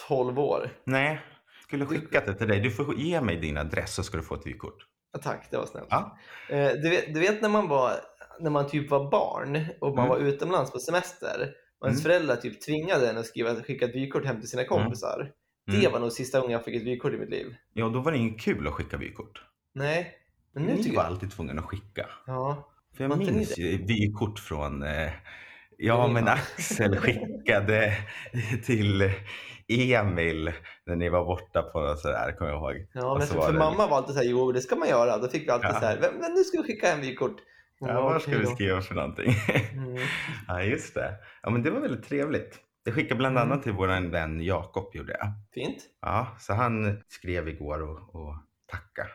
12 år.
Nej, skulle skicka det till dig. Du får ge mig din adress så ska du få ett vykort.
Ja, Tack, det var snällt.
Ja.
Eh, Du, vet, du vet när man var när man typ var barn och man
Mm.
var utomlands på semester och ens
Mm.
föräldrar typ tvingade en att skriva, skicka ett vykort hem till sina kompisar. Det
Mm.
var nog sista gången jag fick ett vykort i mitt liv.
Ja, då var det inget kul att skicka vykort.
Nej, men nu
Ni
tycker
var
jag...
alltid tvungna att skicka.
Ja,
För jag
Var inte ni
minns ju vykort från eh, Ja, men Axel skickade till Emil när ni var borta på något sådär, kommer jag ihåg.
Ja,
Och
men
så
för,
var
för
Alltså, det-
mamma var alltid så här, jo det ska man göra. Då fick vi alltid
Ja.
så här, men, men nu ska vi skicka hem vykort. Och
Ja,
bara,
vad ska
okej
vi
då.
skriva för någonting?
Mm.
ja, just det. Ja, men det var väldigt trevligt. Jag skickade bland
Mm.
annat till vår vän Jakob, gjorde jag.
Fint.
Ja, så han skrev igår och, och tacka.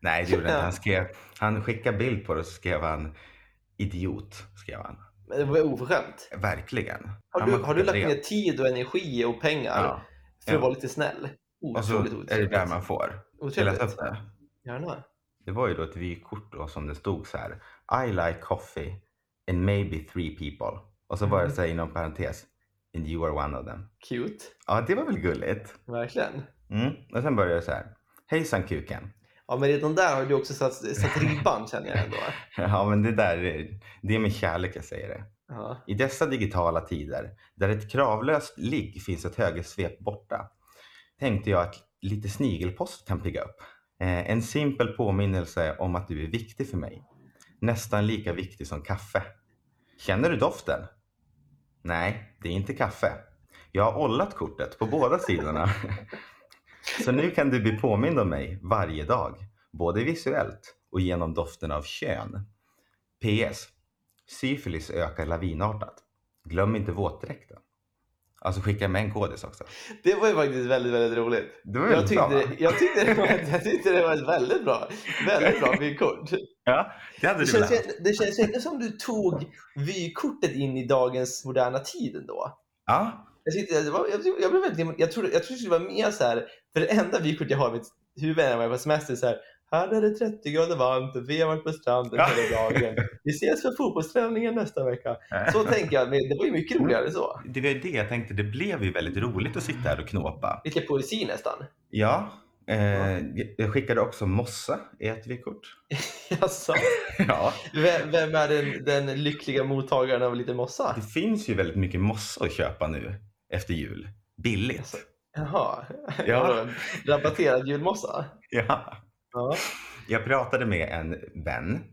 Nej, det gjorde han inte. Han, skrev, han skickade bild på det och så skrev han idiot. Skrev han.
Men det var oförskämt.
Verkligen.
Har
Han
du,
var
har du lagt
ren.
ner tid och energi och pengar
Ja.
för att
ja.
vara lite snäll?
Och så
Otroligt
är det där man får. Ska jag läsa
Otroligt.
upp det?
Gärna.
Det var ju då ett vykort då som det stod så här. I like coffee and maybe three people. Och så var det
Mm.
så här inom parentes. And you are one of them.
Cute.
Ja, det var väl gulligt.
Verkligen.
Mm. Och sen började det så här. Hejsan kuken.
Ja, men redan där har du också satt, satt ribban känner jag ändå.
Ja, men det där, är- det är med kärlek jag säger det.
Ja.
I dessa digitala tider, där ett kravlöst ligg finns ett högersvep borta, tänkte jag att lite snigelpost kan pigga upp. Eh, en simpel påminnelse om att du är viktig för mig. Nästan lika viktig som kaffe. Känner du doften? Nej, det är inte kaffe. Jag har ollat kortet på båda sidorna. Så nu kan du bli påmind om mig varje dag, både visuellt och genom doften av kön. PS. Syfilis ökar lavinartat. Glöm inte våtdräkten. Alltså skicka med en kodis också.
Det var ju faktiskt väldigt, väldigt roligt.
Det var
Jag
väldigt bra, va?
tyckte, jag, tyckte det var, jag tyckte det var ett väldigt bra, väldigt bra vykort.
Ja, det hade
Det
du velat.
känns, ju- det känns ju inte som du tog vykortet in i dagens moderna tid ändå.
Ja,
Jag, tyckte, det var, jag, tyckte- jag, blev väldigt, jag, trodde, jag trodde det var mer så här, för det enda vykort jag har i mitt huvud när jag var på semester är så här, här är det 30 grader varmt och vi har varit på stranden
Ja.
hela dagen. Vi ses för fotbollsträningen nästa vecka.
Äh.
Så tänker jag, men det var ju mycket
Mm.
roligare så.
det var ju det jag tänkte. Det blev ju väldigt roligt att sitta här och knåpa.
Lite poesi nästan.
Ja, eh, jag skickade också mossa i ett vykort.
Alltså,
Ja,
vem, vem är den, den lyckliga mottagaren av lite mossa?
det finns ju väldigt mycket mossa att köpa nu efter jul.
Alltså.
Billigt.
Jaha,
Ja.
rabatterad julmossa?
Ja.
Ja.
Jag pratade med en vän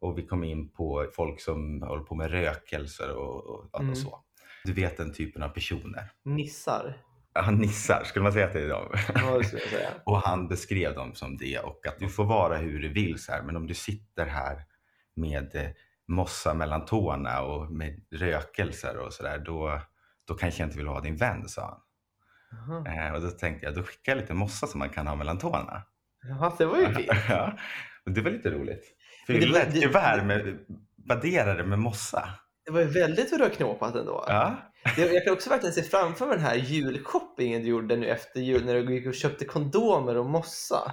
och vi kom in på folk som håller på med rökelser och, och, och
Mm.
så. Du vet den typen av personer.
Nissar,
Ja, nissar, skulle man säga att det är dem?
ja, det skulle jag säga.
Och han beskrev dem som det och att du får vara hur du vill så här, men om du sitter här med eh, mossa mellan tårna och med rökelser och sådär, då, då kanske jag inte vill vara din vän, sa han.
Jaha.
Eh, och då tänkte jag, då skickar jag lite mossa som man kan ha mellan tårna.
Ja, det var ju fint.
ja, och det var lite roligt. För
Men det
det
var-
var ett
det-
gevär med, vadderade med mossa.
Det var ju väldigt hur du har knåpat ändå.
Ja,
Jag, jag kan också verkligen se framför mig den här julshoppingen du gjorde nu efter jul när du gick och köpte kondomer och mossa.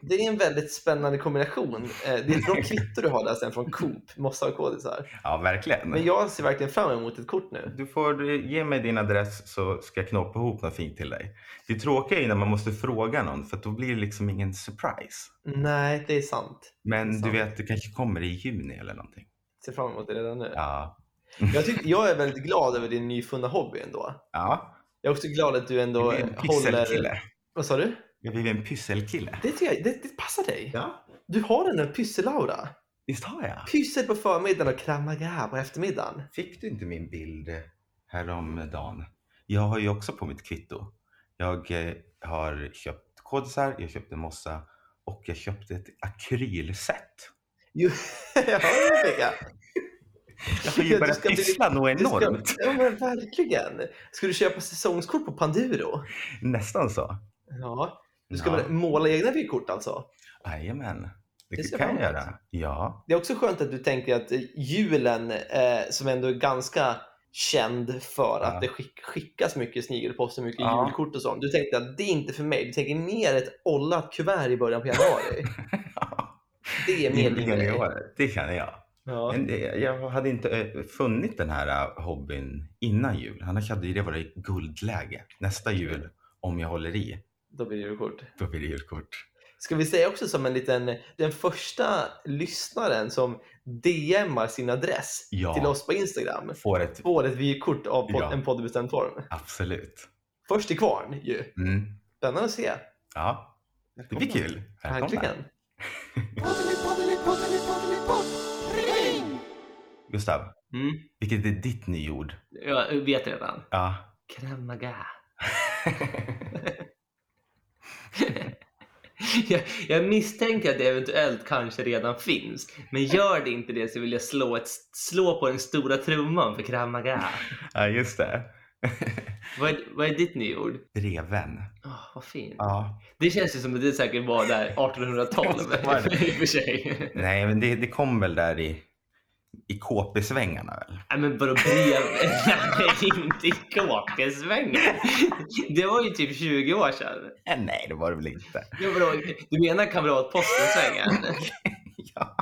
Det är en väldigt spännande kombination. Eh, Det är ett bra kvitto du har där sen från Coop, mossa och kodisar.
ja verkligen.
Men jag ser verkligen fram emot ett kort nu.
Du får eh, ge mig din adress så ska jag knåpa ihop något fint till dig. Det tråkiga är ju när man måste fråga någon för att då blir det liksom ingen surprise.
Nej, det är sant. Det är
Men du
sant.
vet, det kanske kommer i juni eller någonting.
Ser fram emot det redan nu.
Ja.
Jag, tycker, jag är väldigt glad över din nyfunna hobby ändå.
Ja.
Jag är också glad att du ändå
Jag blir en
håller...
pysselkille.
Vad sa du?
Jag blir en pysselkille.
Det, tycker jag, det, det passar dig.
Ja.
Du har den där pysselaura.
Visst har jag?
Pyssel på förmiddagen och kramaga på eftermiddagen.
Fick du inte min bild eh, häromdagen? Jag har ju också på mitt kvitto. Jag eh, har köpt kodisar, jag köpte mossa och jag köpte ett akrylset.
Jo, ja, det fick jag.
Jag har
Ja,
ju
du
börjat
ska bli-
pyssla något
Du ska-
enormt.
Ja, men verkligen. Ska du köpa säsongskort på Panduro?
Nästan så.
Ja. Du ska
Ja.
väl måla egna vykort alltså?
Jajamän. Det,
Det ser
kan jag
bra ut.
göra. Ja.
Det är också skönt att du tänker att eh, julen, eh, som ändå är ganska känd för att
Ja.
det skick, skickas mycket snigelpost och mycket
Ja.
julkort och sånt. Du tänkte att det är inte för mig. Du tänker mer ett ollat kuvert i början på januari. Det är mer din
det,
grej.
år. det känner jag.
Ja.
Men det- jag hade inte eh, funnit den här eh, hobbyn innan jul. Annars hade ju det varit guldläge. Nästa jul, om jag håller i,
Då blir det julkort.
då blir det julkort.
Ska vi säga också som en liten, den första lyssnaren som DMar sin adress
Ja.
till oss på Instagram
Får ett
får ett vykort av pod-
Ja.
en poddbestämd form.
absolut.
Först till kvarn ju.
Mm.
Spännande att se.
Ja, det blir kul. Välkomna.
Verkligen.
Gustav,
Mm.
vilket är ditt nyord?
Jag vet redan.
Ja.
Crème maga. jag, jag misstänker att det eventuellt kanske redan finns. Men gör det inte det så vill jag slå, ett, slå på den stora trumman för crème maga.
ja, just det.
Vad, är- vad är ditt nyord?
Dreven.
Åh, vad fint.
Ja.
Det känns ju som att det säkert var där 1812.
Det var det.
I och för sig.
Nej, men det, det kom väl där i, i KP-svängarna väl?
Nej men vadå brev? Nej, inte i kåkesvängen. Det var ju typ 20 år sedan.
Eh, nej, det var det väl inte.
Jo, vadå, du menar kamratpostensvängen?
Ja.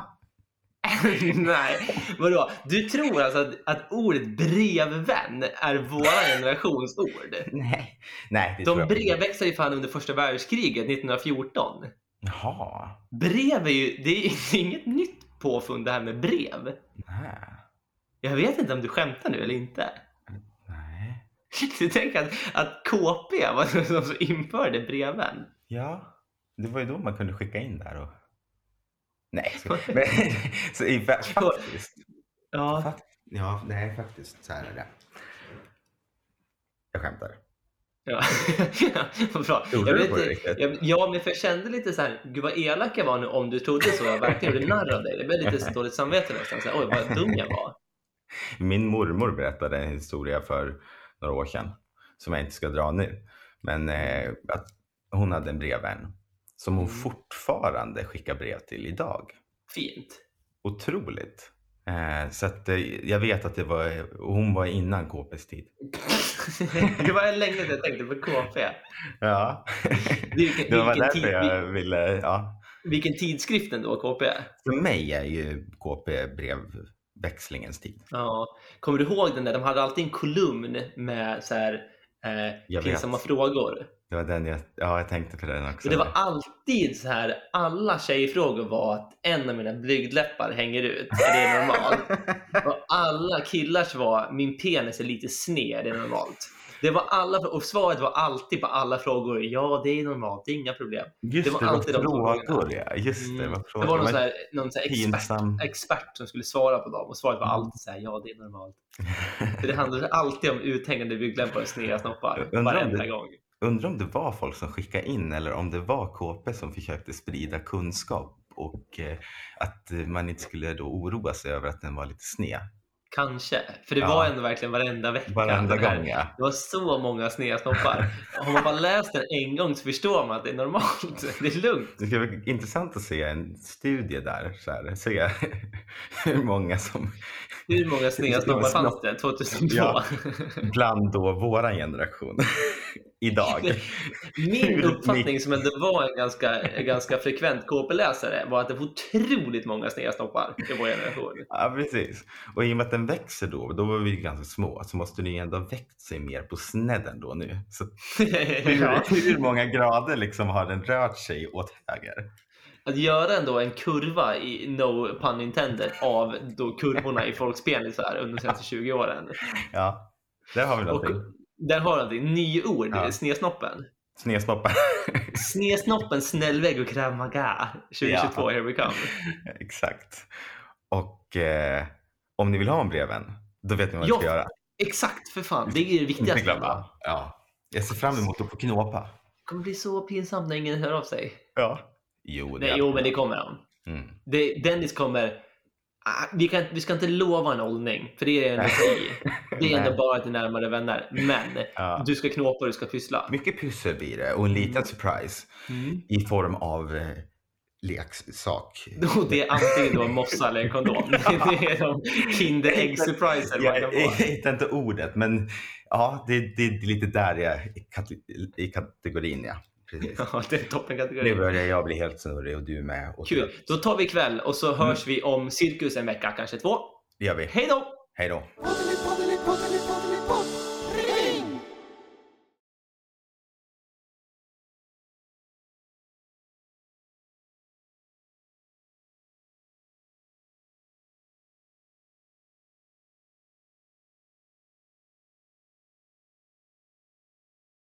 Nej, vadå? Du tror alltså att, att ordet brevvän är vår generations ord?
Nej, nej det tror
De
jag inte.
brevväxlade ju fan under första världskriget 1914.
Jaha.
Brev är ju, det är ju inget nytt påfund det här med brev.
Nej.
Jag vet inte om du skämtar nu eller inte.
nej.
Du tänker att, att KP var de som införde breven?
Ja, det var ju då man kunde skicka in där och... Nej, så, men, så i, fa- faktiskt.
Ja,
Fakt, ja, nej faktiskt. Så här är det. Jag skämtar.
Ja, vad bra.
Gjorde
Jag
du
vet,
på det
inte-
riktigt?
jag, ja, men för jag kände lite så här, gud vad elak jag var nu om du trodde så. Jag verkligen gjorde narr av dig. Det blev lite så dåligt samvete nästan. Så här, Oj, vad dum jag var.
Min mormor berättade en historia för några år sedan som jag inte ska dra nu. Men eh, att hon hade en brevvän som hon
Mm.
fortfarande skickar brev till idag.
Fint.
Otroligt. Eh, så att, eh, jag vet att det var, och hon var innan KPs tid.
Det var länge sedan jag tänkte på KP.
Ja,
Vilken,
det var
vilken,
därför
tid,
jag ville, ja.
vilken tidskrift ändå, KP.
För mig är ju KP brevväxlingens tid.
Ja. Kommer du ihåg den där? De hade alltid en kolumn med så här, eh,
Jag vet.
pinsamma frågor.
Det var den jag, ja jag tänkte på den också.
Och det var alltid så här, alla tjejfrågor var att en av mina blygdläppar hänger ut. Är det normalt? Och alla killars var, min penis är lite sned, är det normalt? Det var alla, och svaret var alltid på alla frågor, ja det är normalt, det är inga problem.
Just
det
det,
var
var,
alltid de två
frågor ja. Just det, det var
Det
frågor.
var någon, så här, någon så här expert,
pinsam.
expert som skulle svara på dem och svaret var alltid så här, ja det är normalt. Så det handlade alltid om uthängande blygdläppar och sneda snoppar,
Undrar om
varenda
det-
gång.
Undrar om det var folk som skickade in eller om det var KP som försökte sprida kunskap och eh, att eh, man inte skulle då oroa sig över att den var lite sned.
Kanske, för det
Ja.
var ändå verkligen varenda vecka.
Varenda
den här-
gång ja.
Det var så många snedsnoppar. Har man bara läst den en gång så förstår man att det är normalt. Det är lugnt.
Det ska vara intressant att se en studie där, så här, se hur många som
Hur många snedsnoppar
Det var
fanns det 2002?
Ja. bland då våran generation idag.
Min uppfattning som ändå var en ganska, en ganska frekvent KP-läsare var att det var otroligt många snedsnoppar i vår generation.
Ja, precis. Och i och med att den växer då, då var vi ju ganska små, så måste den ju ändå ha växt sig mer på snedden då nu. Så hur,
Ja.
hur många grader liksom har den rört sig åt höger?
Att göra ändå en kurva, i no pun intended, av då kurvorna i folks penisar under de senaste 20 åren.
Ja, där har vi
Och
någonting.
där har han det. Nyord,
Ja.
snedsnoppen.
Snedsnoppar.
Snedsnoppen, snällvägg och krav maga. 2022, here we come.
Exakt. Och eh, om ni vill ha en breven, då vet ni vad ni
Ja,
ska göra.
Exakt, för fan. Det är det
Inte
viktigaste.
glömma.
Det
Ja. Jag ser fram emot att få knåpa.
kommer bli så pinsamt när ingen hör av sig.
Ja. Jo,
Nej, jo, men det kommer han.
Mm.
Det, Dennis kommer... Ah, Vi, kan, vi ska inte lova en hållning, för det är ändå i. Det är ändå
Nej.
bara till närmare vänner. Men
Ja.
du ska knåpa och du ska pyssla.
Mycket pyssel blir det och en liten
Mm.
surprise
Mm.
i form av eh, leksak.
Och det är antingen då en mossa eller en kondom. Det är de Kinderägg-surpriser man kan
Jag, jag
få.
hittar inte ordet, men ja, det, det är lite där jag är i kate- i kategorin. Ja. Precis.
Ja, det är
Nu
toppenkategori.
börjar jag bli helt snurrig och du med. Och
Kul. Då tar vi ikväll och
Mm.
så hörs vi om cirkus en vecka, kanske två.
Det gör vi.
Hej då!
Hej då.
Poddeli, poddeli, poddeli, poddeli, poddeli.